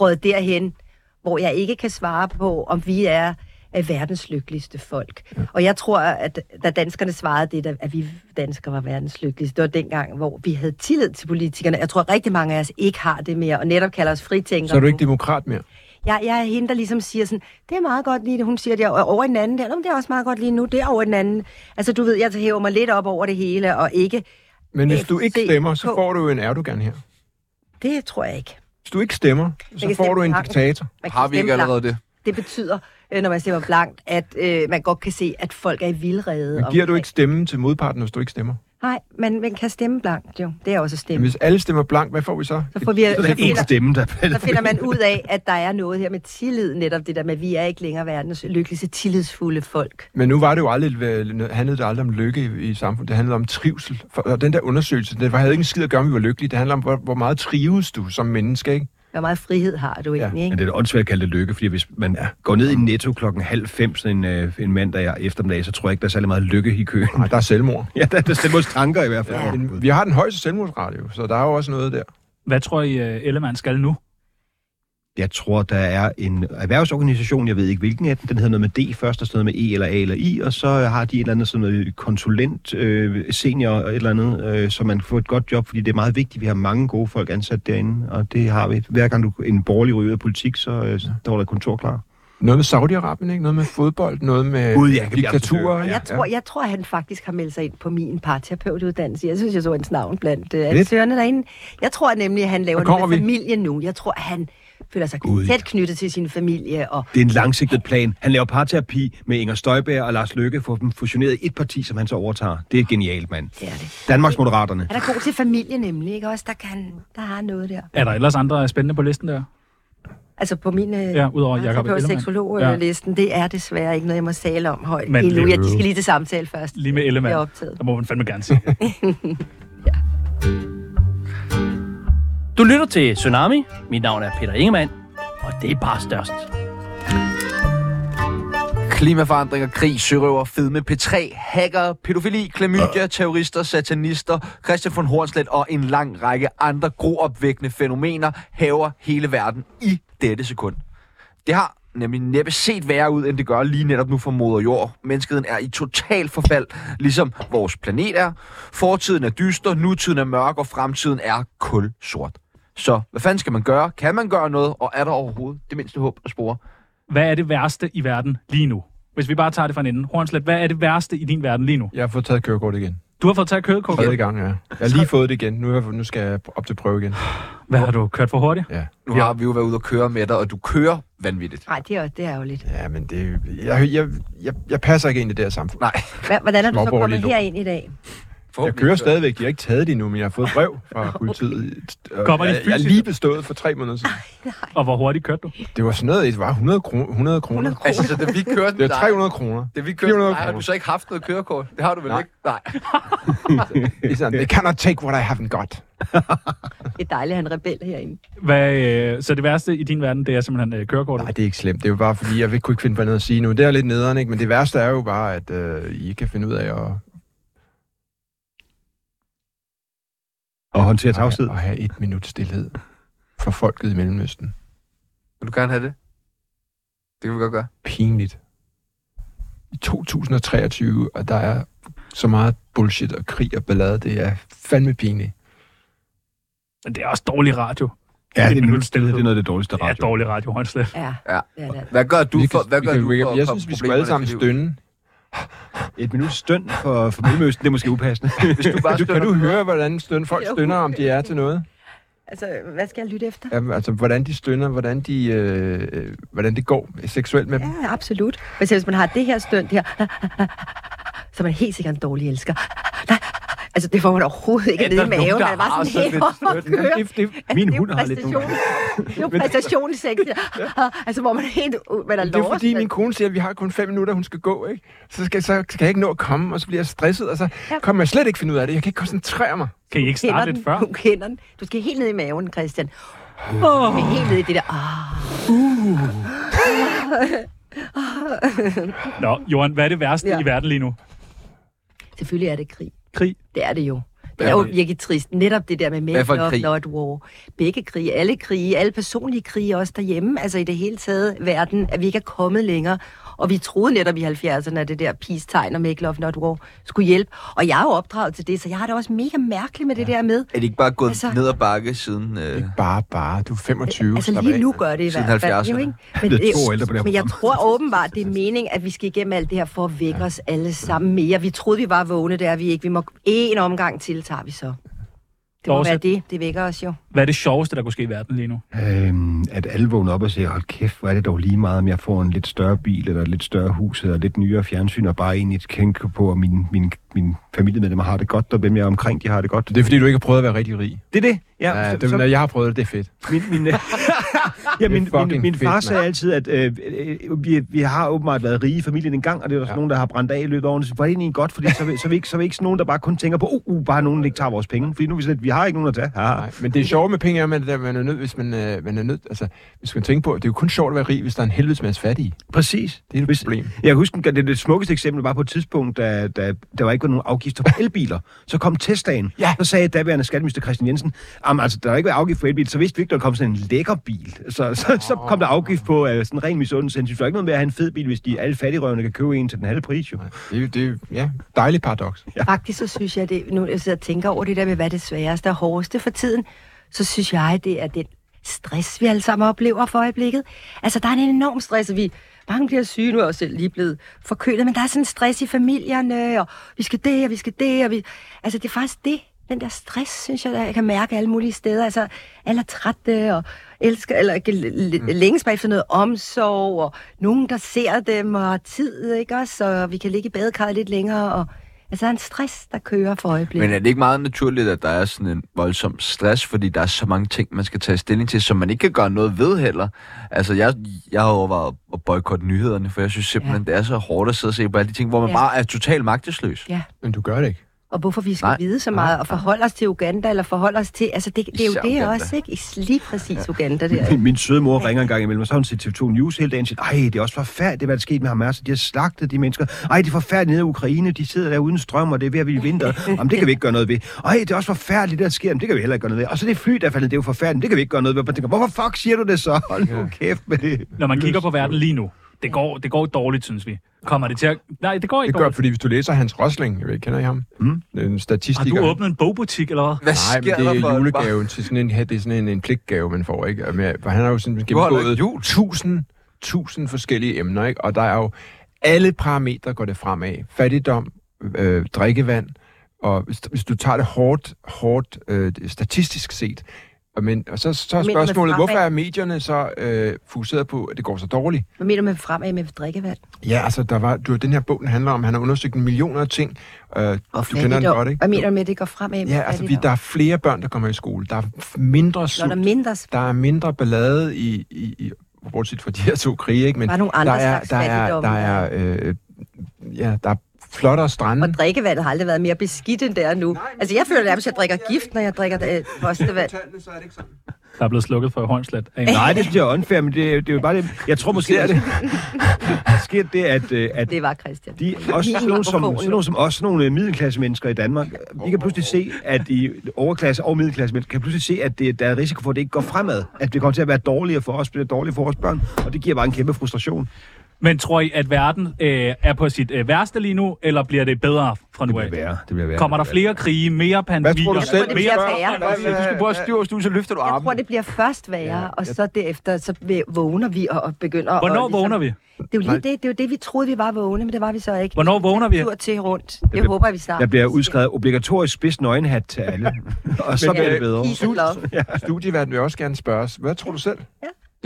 råd derhen, hvor jeg ikke kan svare på, om vi er øh, verdens lykkeligste folk. Ja. Og jeg tror, at da danskerne svarede det, at vi danskere var verdens lykkeligste, det var dengang, hvor vi havde tillid til politikerne. Jeg tror, rigtig mange af os ikke har det mere, og netop kalder os fritænkere.
Så er du
nu.
ikke demokrat mere.
Jeg, jeg er hende, der ligesom siger sådan, det er meget godt lige det, hun siger det, og over i den anden der, "Nå, men det er også meget godt lige nu, det er over i den anden. Altså du ved, jeg hæver mig lidt op over det hele, og ikke,
Men hvis du ikke
FCK.
stemmer, så får du jo en Erdogan her.
det tror jeg ikke.
Hvis du ikke stemmer,
kan
så får du
stemme
en
blankt.
diktator.
Man kan
Har vi
stemme
ikke allerede
blankt.
det?
Det betyder, øh, når man stemmer blankt, at øh, man godt kan se, at folk er i vildrede.
Men giver du ikke stemmen til modparten, hvis du ikke stemmer?
Nej, men man kan stemme blankt jo. Det er også at
Jamen,
stemme.
hvis alle stemmer blank, hvad får vi så?
Så, får vi,
Der
så,
er ikke én
finder,
stemme, der falder
så finder man ud af, at der er noget her med tillid, netop det der med, at vi er ikke længere verdens lykkeligste, tillidsfulde folk.
Men nu var det jo aldrig, hvad- handlede det aldrig om lykke i, i samfundet. Det handlede om trivsel. For, og den der undersøgelse, det var- havde ikke en skid at gøre, om vi var lykkelige. Det handler om, hvor, hvor meget trives du som menneske, ikke?
Hvor meget frihed har du
Ja,
egentlig, ikke?
Men det er da åndssvagt at kalde det lykke, fordi hvis man ja. går ned i netto klokken halv fem sådan en, øh, en mandag eftermiddag, så tror jeg ikke, der er særlig meget lykke i køen.
Nej, der er selvmord.
Ja, der, der stemmer tanker i hvert fald.
Ja. Vi har den højeste selvmordsradio, så der er jo også noget der.
Hvad tror I, øh, Ellemann skal nu?
Jeg tror, der er en erhvervsorganisation, jeg ved ikke hvilken af dem, den hedder noget med D først, og sådan noget med E eller A eller I, og så har de et eller andet sådan noget konsulent, øh, senior et eller andet, øh, så man kan få et godt job, fordi det er meget vigtigt, vi har mange gode folk ansat derinde, og det har vi. Hver gang du en borgerlig ryger ud af politik, så øh, så står der et kontor klar.
Noget med Saudi-Arabien, ikke? Noget med fodbold, noget med
Gud, ja, det bliver
diktaturer.
absolut.
ikke?
Jeg tror, jeg tror, han faktisk har meldt sig ind på min parterapeutuddannelse. Jeg synes, jeg så hans navn blandt øh, ansøgerne derinde. Jeg tror nemlig, at han laver
Der
noget
kommer
med
vi.
familien nu. Jeg tror, at han føler sig
Gud, ja.
tæt knyttet til sin familie. Og
Det er en langsigtet plan. Han laver parterapi med Inger Støjberg og Lars Løkke, får dem fusioneret i et parti, som han så overtager. Det er genialt, mand.
det er det.
Danmarks Moderaterne.
Han er god til familie nemlig, ikke også? Der, kan, der har noget der.
Er der ellers andre spændende på listen der?
Altså på min øh,
Ja, udover Jacob
på
Ellemann.
seksologlisten, det er desværre ikke noget, jeg må tale om højt
Men
endnu. Jeg
det-
skal lige til samtale først.
Lige med Ellemann.
Jeg er optaget.
Der må man fandme gerne sige. ja. Du lytter til Tsunami. Mit navn er Peter Ingemann, og det er bare størst.
Klimaforandringer, krig, sørøver, fedme, P3, hacker, pædofili, klamydia, terrorister, satanister, Christian von Hornslet og en lang række andre groopvækkende fænomener haver hele verden i dette sekund. Det har nemlig næppe set værre ud, end det gør lige netop nu for moder jord. Menneskeheden er i total forfald, ligesom vores planet er. Fortiden er dyster, nutiden er mørk, og fremtiden er kul sort. Så hvad fanden skal man gøre? Kan man gøre noget? Og er der overhovedet det mindste håb at spore?
Hvad er det værste i verden lige nu? Hvis vi bare tager det fra en ende. Hornslet, hvad er det værste i din verden lige nu?
Jeg har fået taget kørekort igen.
Du har fået taget kørekort.
Tredje gang, ja. Jeg har lige fået det igen. Nu, er jeg, nu skal jeg op til prøve igen.
Hvad har du kørt for hurtigt?
Ja.
Nu har vi jo været ude og køre med dig, og du kører vanvittigt.
Nej, det er, det er jo lidt.
Ja, men det... Jeg, jeg, jeg, jeg passer ikke ind i det her samfund.
Nej,
Hva- Hvordan er du så
Småborgerlig
kommet
lort.
herind i dag?
Jeg kører stadigvæk. Jeg har ikke taget det endnu, men jeg har fået brev fra politiet. Og
Kommer de
jeg, jeg er
fysisk?
lige bestået for tre måneder siden.
Og hvor hurtigt kørte du?
Det var sådan noget, det var 100 kroner. 100 kroner.
100 kroner.
Altså, så da vi kørte
Det var
dig-
300 kroner.
Da vi
400
kørte, nej, har
kroner.
du så ikke haft noget kørekort? Det har du vel
Nej.
ikke? Nej.
Det er sådan, they cannot take what I haven't got.
Det er dejligt, at han er rebel herinde.
Hvad, øh, så det værste i din verden, det er simpelthen øh, kørekortet?
Nej, det er ikke slemt. Det er jo bare, fordi jeg kunne ikke finde på noget at sige nu. Det er lidt nederen, ikke? Men det værste er jo bare, at øh, I ikke kan finde ud af at,
Og håndtere tavshed.
at have et minut stillhed for folket i Mellemøsten.
Vil du gerne have det? Det kan vi godt gøre.
Pinligt. I 2023, og der er så meget bullshit og krig og ballade, det er fandme pinligt.
Men det er også dårlig radio.
Ja, det er,
minut
minut stillhed.
stillhed.
det er noget af det dårligste
Det er
radio.
dårlig radio, Hornslet.
Ja,
Ja.
det er det.
Hvad gør du
Vi
for,
kan-
hvad
vi
gør
kan-
du
vi kan-
for
Jeg synes, vi skulle alle sammen stønne.
Et minut stønd for, for mellemøsten, det er måske upassende.
Hvis du bare
Altså, Du, kan
stønner,
du høre, hvordan støn, folk
Jo.
stønner, om de er til noget?
Altså, hvad skal jeg lytte efter?
Jamen, altså, hvordan de stønner, hvordan, de, øh, øh, hvordan det går seksuelt med dem.
Ja, absolut. Hvis, hvis man har det her stønt her, så er man helt sikkert en dårlig elsker. Nej, altså det får man overhovedet ikke
Er
nede i
der nogen,
maven.
der
Man er bare
har
sådan
sådan
helt
et
op at køre.
Det, det, min
Det er jo
hund har lidt nogle gange.
præstations- Det er jo præstationssex. Altså, hvor man er helt... u- Man er
Det er fordi,
lost.
min kone siger, at vi har kun fem minutter, hun skal gå, ikke? Så skal, så skal jeg ikke nå at komme, og så bliver jeg stresset, og så
Ja.
kommer jeg slet ikke finde ud af det. Jeg kan ikke koncentrere mig.
Kan I ikke
kender
starte
den.
lidt før?
Du kender den. Du skal helt ned i maven, Christian. Oh. Men helt ned i det der... Ah,
Nå, Johan, hvad er det værste
Ja.
i verden lige nu?
selvfølgelig er det krig.
Krig?
Det er det jo. Det er jo virkelig trist. Netop det der med
Hvad for en
men of
krig?
not war. Begge krige, alle krige, alle personlige krige også derhjemme. Altså i det hele taget verden, at vi ikke er kommet længere. Og vi troede netop i 70'erne, at det der peace-tegn og make love not war skulle hjælpe. Og jeg er jo opdraget til det, så jeg har det også mega mærkeligt med det der med.
er det ikke bare gået
Altså-
ned ad bakke siden... Øh,
Ikke bare, bare. Du er 25.
Altså
slap
lige
af.
nu gør det i
Siden
hvert fald.
70'erne.
Jo, ikke?
er blevet to år ældre på det her
men jeg
program.
tror åbenbart, det er meningen, at vi skal igennem alt det her for at vække ja. os alle sammen mere. Vi troede, vi var vågne, det er vi ikke. Vi må en omgang til, tager vi så. Det må
Dorset.
være det. Det vækker os jo.
Hvad er det sjoveste, der kunne ske i verden lige nu?
Øhm, at alle vågner op og siger, hold kæft, hvor er det dog lige meget, om jeg får en lidt større bil, eller et lidt større hus, eller lidt nyere fjernsyn, og bare egentlig tænker på, at mine, mine, mine familiemedlemmer har det godt, og hvem jeg er omkring, de har det godt.
Det er fordi, du ikke har prøvet at være rigtig rig.
Det er det. Ja,
Ja, det, når jeg har prøvet det, det er fedt.
min, min, ja, min, min,
fucking
min far
fedt,
sagde altid, at øh, øh, vi, vi har åbenbart været rige i familien en gang, og det er der ja. nogen, der har brændt af i løbet af årene. Så var det egentlig godt, fordi så, vil- så, er vi ikke, så er vi ikke sådan nogen, der bare kun tænker på, uh, uh bare nogen, der ikke tager vores penge. Fordi nu er vi sådan, at vi har ikke nogen at tage. Ja.
Nej, men det sjove med penge er, at man, man er nødt, hvis man, øh, man er nødt, altså, hvis man tænker på, at det er jo kun sjovt at være rig, hvis der er en helvedes masse fattige.
Præcis.
Det er et
Hvis-
problem.
Jeg kan huske, det, det smukkeste eksempel var på et tidspunkt, da, da der var ikke var nogen afgifter på elbiler. Så kom Teslaen.
Ja.
Så sagde daværende skatteminister Christian Jensen, "Jamen, altså, der er ikke været afgift på elbiler, så vidste vi ikke, der kom sådan en lækker bil. Så, så, så kom der afgift på uh, sådan ren misundelse. Han synes, der er ikke noget med at have en fed bil, hvis de alle fattigrøvene kan købe en til den halve pris. Jo.
Det, er- det, er- ja, dejligt paradoks.
Ja. Faktisk så synes jeg, det, nu jeg sidder og tænker over det der med, hvad det sværeste og hårdeste for tiden, så synes jeg, det er den stress, vi alle sammen oplever for øjeblikket. Altså, der er en enorm stress, og vi mange bliver syge, nu er jeg også selv lige blevet forkølet, men der er sådan en stress i familierne, og vi skal det, og vi skal det, og vi... Altså, det er faktisk det, den der stress, synes jeg, der jeg kan mærke alle mulige steder. Altså, alle er trætte, og elsker, eller ikke, l- l- længes bare efter noget omsorg, og nogen, der ser dem, og tid, ikke også? Og vi kan ligge i badekarret lidt længere, og Altså, der er en stress, der kører for øjeblikket.
men øh, er det ikke meget naturligt, at der er sådan en voldsom stress, fordi der er så mange ting, man skal tage stilling til, som man ikke kan gøre noget ved heller? Altså, jeg, jeg har overvejet at boykotte nyhederne, for jeg synes simpelthen, ja. det er så hårdt at sidde og se på alle de ting, hvor man ja.
Ja.
bare er totalt magtesløs.
Ja,
Men du gør det ikke.
og hvorfor vi skal
Nej,
nej, vide så
nej,
meget, og forholde os til Uganda, eller forholde os til... Altså, det, det er jo
Især
det
Uganda.
også, ikke? Is- Lige præcis Uganda der.
Min, min søde mor ringer en gang imellem, og så har hun set TV2 News hele dagen og siger, ej, det er også forfærdeligt, hvad der skete med ham altså, de har slagtet de mennesker. Ej, det er forfærdeligt nede i Ukraine, de sidder der uden strøm, og det er ved at blive vinter. Jamen, det kan vi ikke gøre noget ved. Ej, det er også forfærdeligt, det der sker, Jamen, det kan vi heller ikke gøre noget ved. Og så det fly, der er faldet, det er jo forfærdeligt, det kan vi ikke gøre noget ved. Og man tænker, hvorfor fuck siger du det så? Hold nu kæft med det.
Når man kigger på verden lige nu, det går, det går dårligt, synes vi. Kommer det til at... Nej, det går ikke
Det gør,
dårligt.
fordi hvis du læser Hans Rosling, jeg ved ikke, kender I ham? Mm. En
Har
statistiker.
du åbnet en bogbutik, eller hvad?
Hvad
Nej, men det er julegaven til sådan en, her- det er sådan en, en pligtgave, man får, ikke? Og Med, for han har jo sådan
Du holder
gennemgået
ikke jul.
tusind, tusind forskellige emner, ikke? Og der er jo alle parametre går det fremad. Fattigdom, øh, drikkevand, og hvis, hvis du tager det hårdt, hårdt øh, statistisk set, og men, og så, så er
Men-
spørgsmålet,
men-
hvorfor er medierne så øh, fokuseret på, at det går så dårligt?
Hvad mener du med fremad med drikkevand?
Ja, altså, der var, du, den her bog, den handler om, han har undersøgt millioner af ting. Øh, du kender den
Fattigdom.
godt, ikke?
Hvad mener du med, at det går fremad med
Ja, altså, vi,
fattigdom?
der er flere børn, der kommer i skole. Der er f- mindre
Når der
sult.
er mindre...
Der er mindre ballade i, i, i bortset fra de her to krige, ikke? Men
Bare nogle andre
der er,
slags
der er,
fattigdom,
der er, øh, ja, der er flottere strande.
Og drikkevandet har aldrig været mere beskidt end det er nu. altså, jeg føler nærmest, at jeg drikker gift, når jeg drikker øh, postevand.
Der er blevet slukket for håndslet. af en-
Nej, det synes jeg er unfair, men det, det er jo bare det. Jeg tror måske, at det. Der sker det, at, øh, at
Det var Christian.
De, også
Min
sådan nogle, som,
mikrofon,
sådan nogle som os, sådan nogle øh, middelklassemennesker i Danmark, vi kan pludselig se, at de overklasse og middelklassemennesker kan pludselig se, at det, der er risiko for, at det ikke går fremad. At det kommer til at være dårligere for os, bliver dårligere for vores børn, og det giver bare en kæmpe frustration.
Men tror I, at verden øh, er på sit øh, værste lige nu, eller bliver det bedre fra nu af?
værre. Det bliver værre.
Kommer der flere krige, mere pandemier?
tror du
Jeg tror,
selv,
mere
det bliver
børn?
færre.
Hvad-
Du skal prøve at styre os, du, så løfter du
Jeg tror,
armen.
det bliver først værre, og så derefter så væ- vågner vi og, og begynder...
Hvornår
og, ligesom,
vågner vi?
Det er jo lige det, det, er jo det, vi troede, vi var vågne, men det var vi så ikke.
Hvornår vågner vi?
Tur til rundt. Det,
bliver-
håber vi snart.
Der bliver udskrevet obligatorisk spids nøgenhat til alle, og så
Men,
bliver
øh,
det bedre.
Peace and love.
Studieverden vil også gerne spørge os. Hvad tror du selv?
Ja,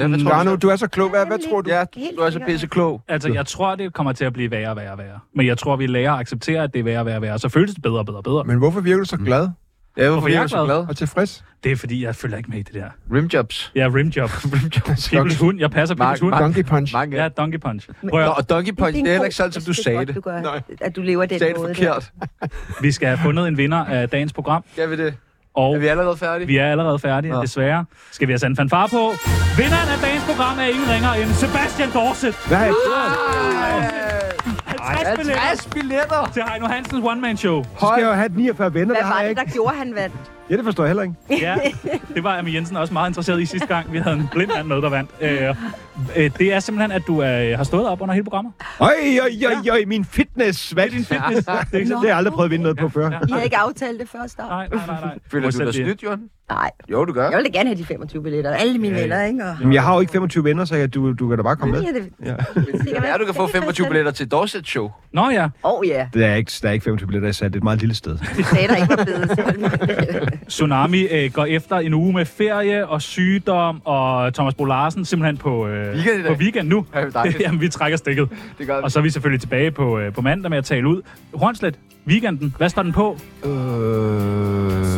hvad tror du?
Jarno, du er så klog. Hvad, hvad
Jamen,
tror du?
Ja,
Helt
du er så
sikkert.
pisse klog.
Altså, jeg tror, det kommer til at blive værre og værre og værre. Men jeg tror, vi lærer at acceptere, at det er værre og værre og værre. Så føles det bedre og bedre og bedre.
Men hvorfor virker du så glad
Ja, hvorfor
jeg
er du så
glad?
glad?
og tilfrids?
Det er, fordi jeg følger ikke med i det der.
Rimjobs.
Jeg er rimjob. People's hund. Jeg passer
Mark-
People's hund.
Mark-
Donkey punch.
Mange.
Ja, donkey punch. Prøv
Nå,
at,
og Donkey Punch,
en
det er heller
god-
ikke sådan, som
jeg
du
synes,
sagde
godt,
det.
Du gør, at du lever den
Sagde det
måde. Der.
forkert.
vi skal have fundet en vinder af dagens program.
Skal vi det?
Og
Er Oh. vi allerede færdige?
vi er allerede færdige,
Nå.
desværre. Skal vi have sat en fanfare på? Vinderen af dagens program er ingen ringer end Sebastian Dorset.
Nej,
50 billetter
50 billetter!
til Heino Hansens one-man-show.
så skal jeg jo have 49 venner,
Hvad
der har
var
jeg
det,
ikke.
der gjorde, han vandt?
Ja, det forstår jeg heller ikke.
Ja, det var Ami Jensen også meget interesseret i sidste gang. Vi havde en blind mand med, der vandt. Øh, øh, det er simpelthen, at du øh, har stået op under hele programmet.
Øj, øj, øj, øj, min fitness, hvad? Det er din fitness. Det har jeg aldrig prøvet at vinde noget på før.
I havde ikke aftalt det først. Nej.
Nej, nej, nej. nej.
Føler du
Modsat
dig
det.
snydt, Jørgen?
Nej.
Jo, du gør.
Jeg ville da gerne have de 25 billetter. Alle mine
Ja, ja.
venner, ikke? Og...
Jamen, jeg har jo ikke 25 venner, så jeg, du, du kan da bare komme med.
Ja, det,
Ja.
Ja, du kan få 25 billetter til Dorset Show.
Nå ja,
Åh oh, ja,
Der er ikke, der er ikke 25 billetter, jeg sagde, det er et meget lille sted.
du sagde der ikke var blevet
Tsunami øh, går efter en uge med ferie og sygdom, og Thomas Bo Larsen simpelthen på, øh,
Weekend i dag.
på weekend nu.
Ja, det er dejligt.
Jamen, vi trækker stikket.
Det gør vi.
Og så er vi selvfølgelig tilbage på, øh, på mandag med at tale ud. Hornslet, weekenden, hvad står den på?
Øh.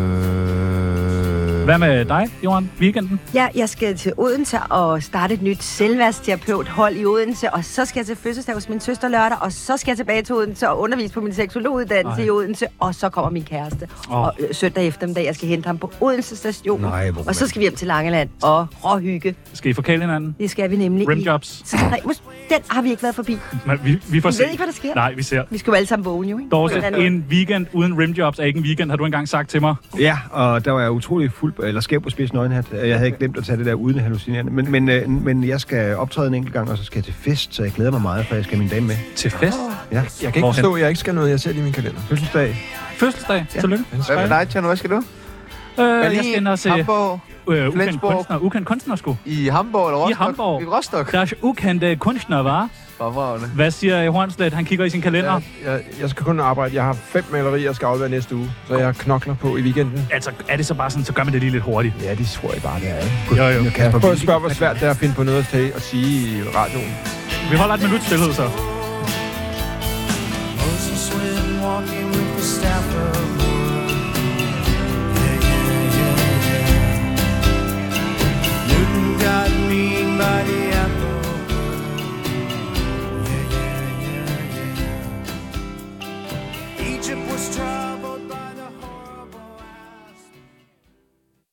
Hvad med dig, Johan? Weekenden?
Ja, jeg skal til Odense og starte et nyt selvværdsterapeuthold i Odense, og så skal jeg til fødselsdag hos min søster lørdag, og så skal jeg tilbage til Odense og undervise på min seksologuddannelse
Ej.
i Odense, og så kommer min kæreste.
Åh.
Oh. Og øh, søndag eftermiddag, jeg skal hente ham på Odense station,
Nej, hvor
og så skal vi hjem til Langeland og råhygge.
Skal I forkæle hinanden?
Det skal vi nemlig
Rimjobs.
i tre. Mus- Den har vi ikke været forbi.
Men vi, vi får
Vi
se.
ved ikke, hvad der sker.
Nej, vi ser.
Vi skal jo alle sammen vågne, jo, ikke? På en
Dorset,
eller anden
en weekend uden rimjobs er ikke en weekend, har du engang sagt til mig.
Ja, og der var jeg utrolig fuld, eller skæv på spids nøgenhat. Jeg havde ikke glemt at tage det der uden hallucinerende. Men, men, øh, men jeg skal optræde en enkelt gang, og så skal jeg til fest, så jeg glæder mig meget, for jeg skal have min dame med.
Til fest?
Ja,
Jeg kan ikke
Hvorhen?
forstå, at jeg ikke skal noget, jeg ser lige i min kalender.
fødselsdag.
Fødselsdag. Ja. Tillykke.
Hvad med dig, Tjerno? Hvad skal du?
Øh, jeg
Berlin,
skal ind og se
Hamburg,
øh, ukendt
Flensborg.
kunstner. Ukendt kunstner, sgu.
i Hamburg eller
I
Rostock?
Hamburg.
I Rostock.
Der er ukendte kunstner, var.
Fremragende.
Hvad siger øh, Hornslet? Han kigger i sin kalender.
Jeg, jeg, jeg skal kun arbejde. Jeg har fem malerier, jeg skal aflevere næste uge, så jeg knokler på i weekenden.
Altså, er det så bare sådan, så gør man det lige lidt hurtigt.
Ja, det tror jeg bare, det er.
Jo, jo.
Kasper,
Prøv at spørge, hvor svært det er at finde på noget at tage og sige i radioen.
Vi holder et minut stillhed, så.
Moses Swin walking with the staff of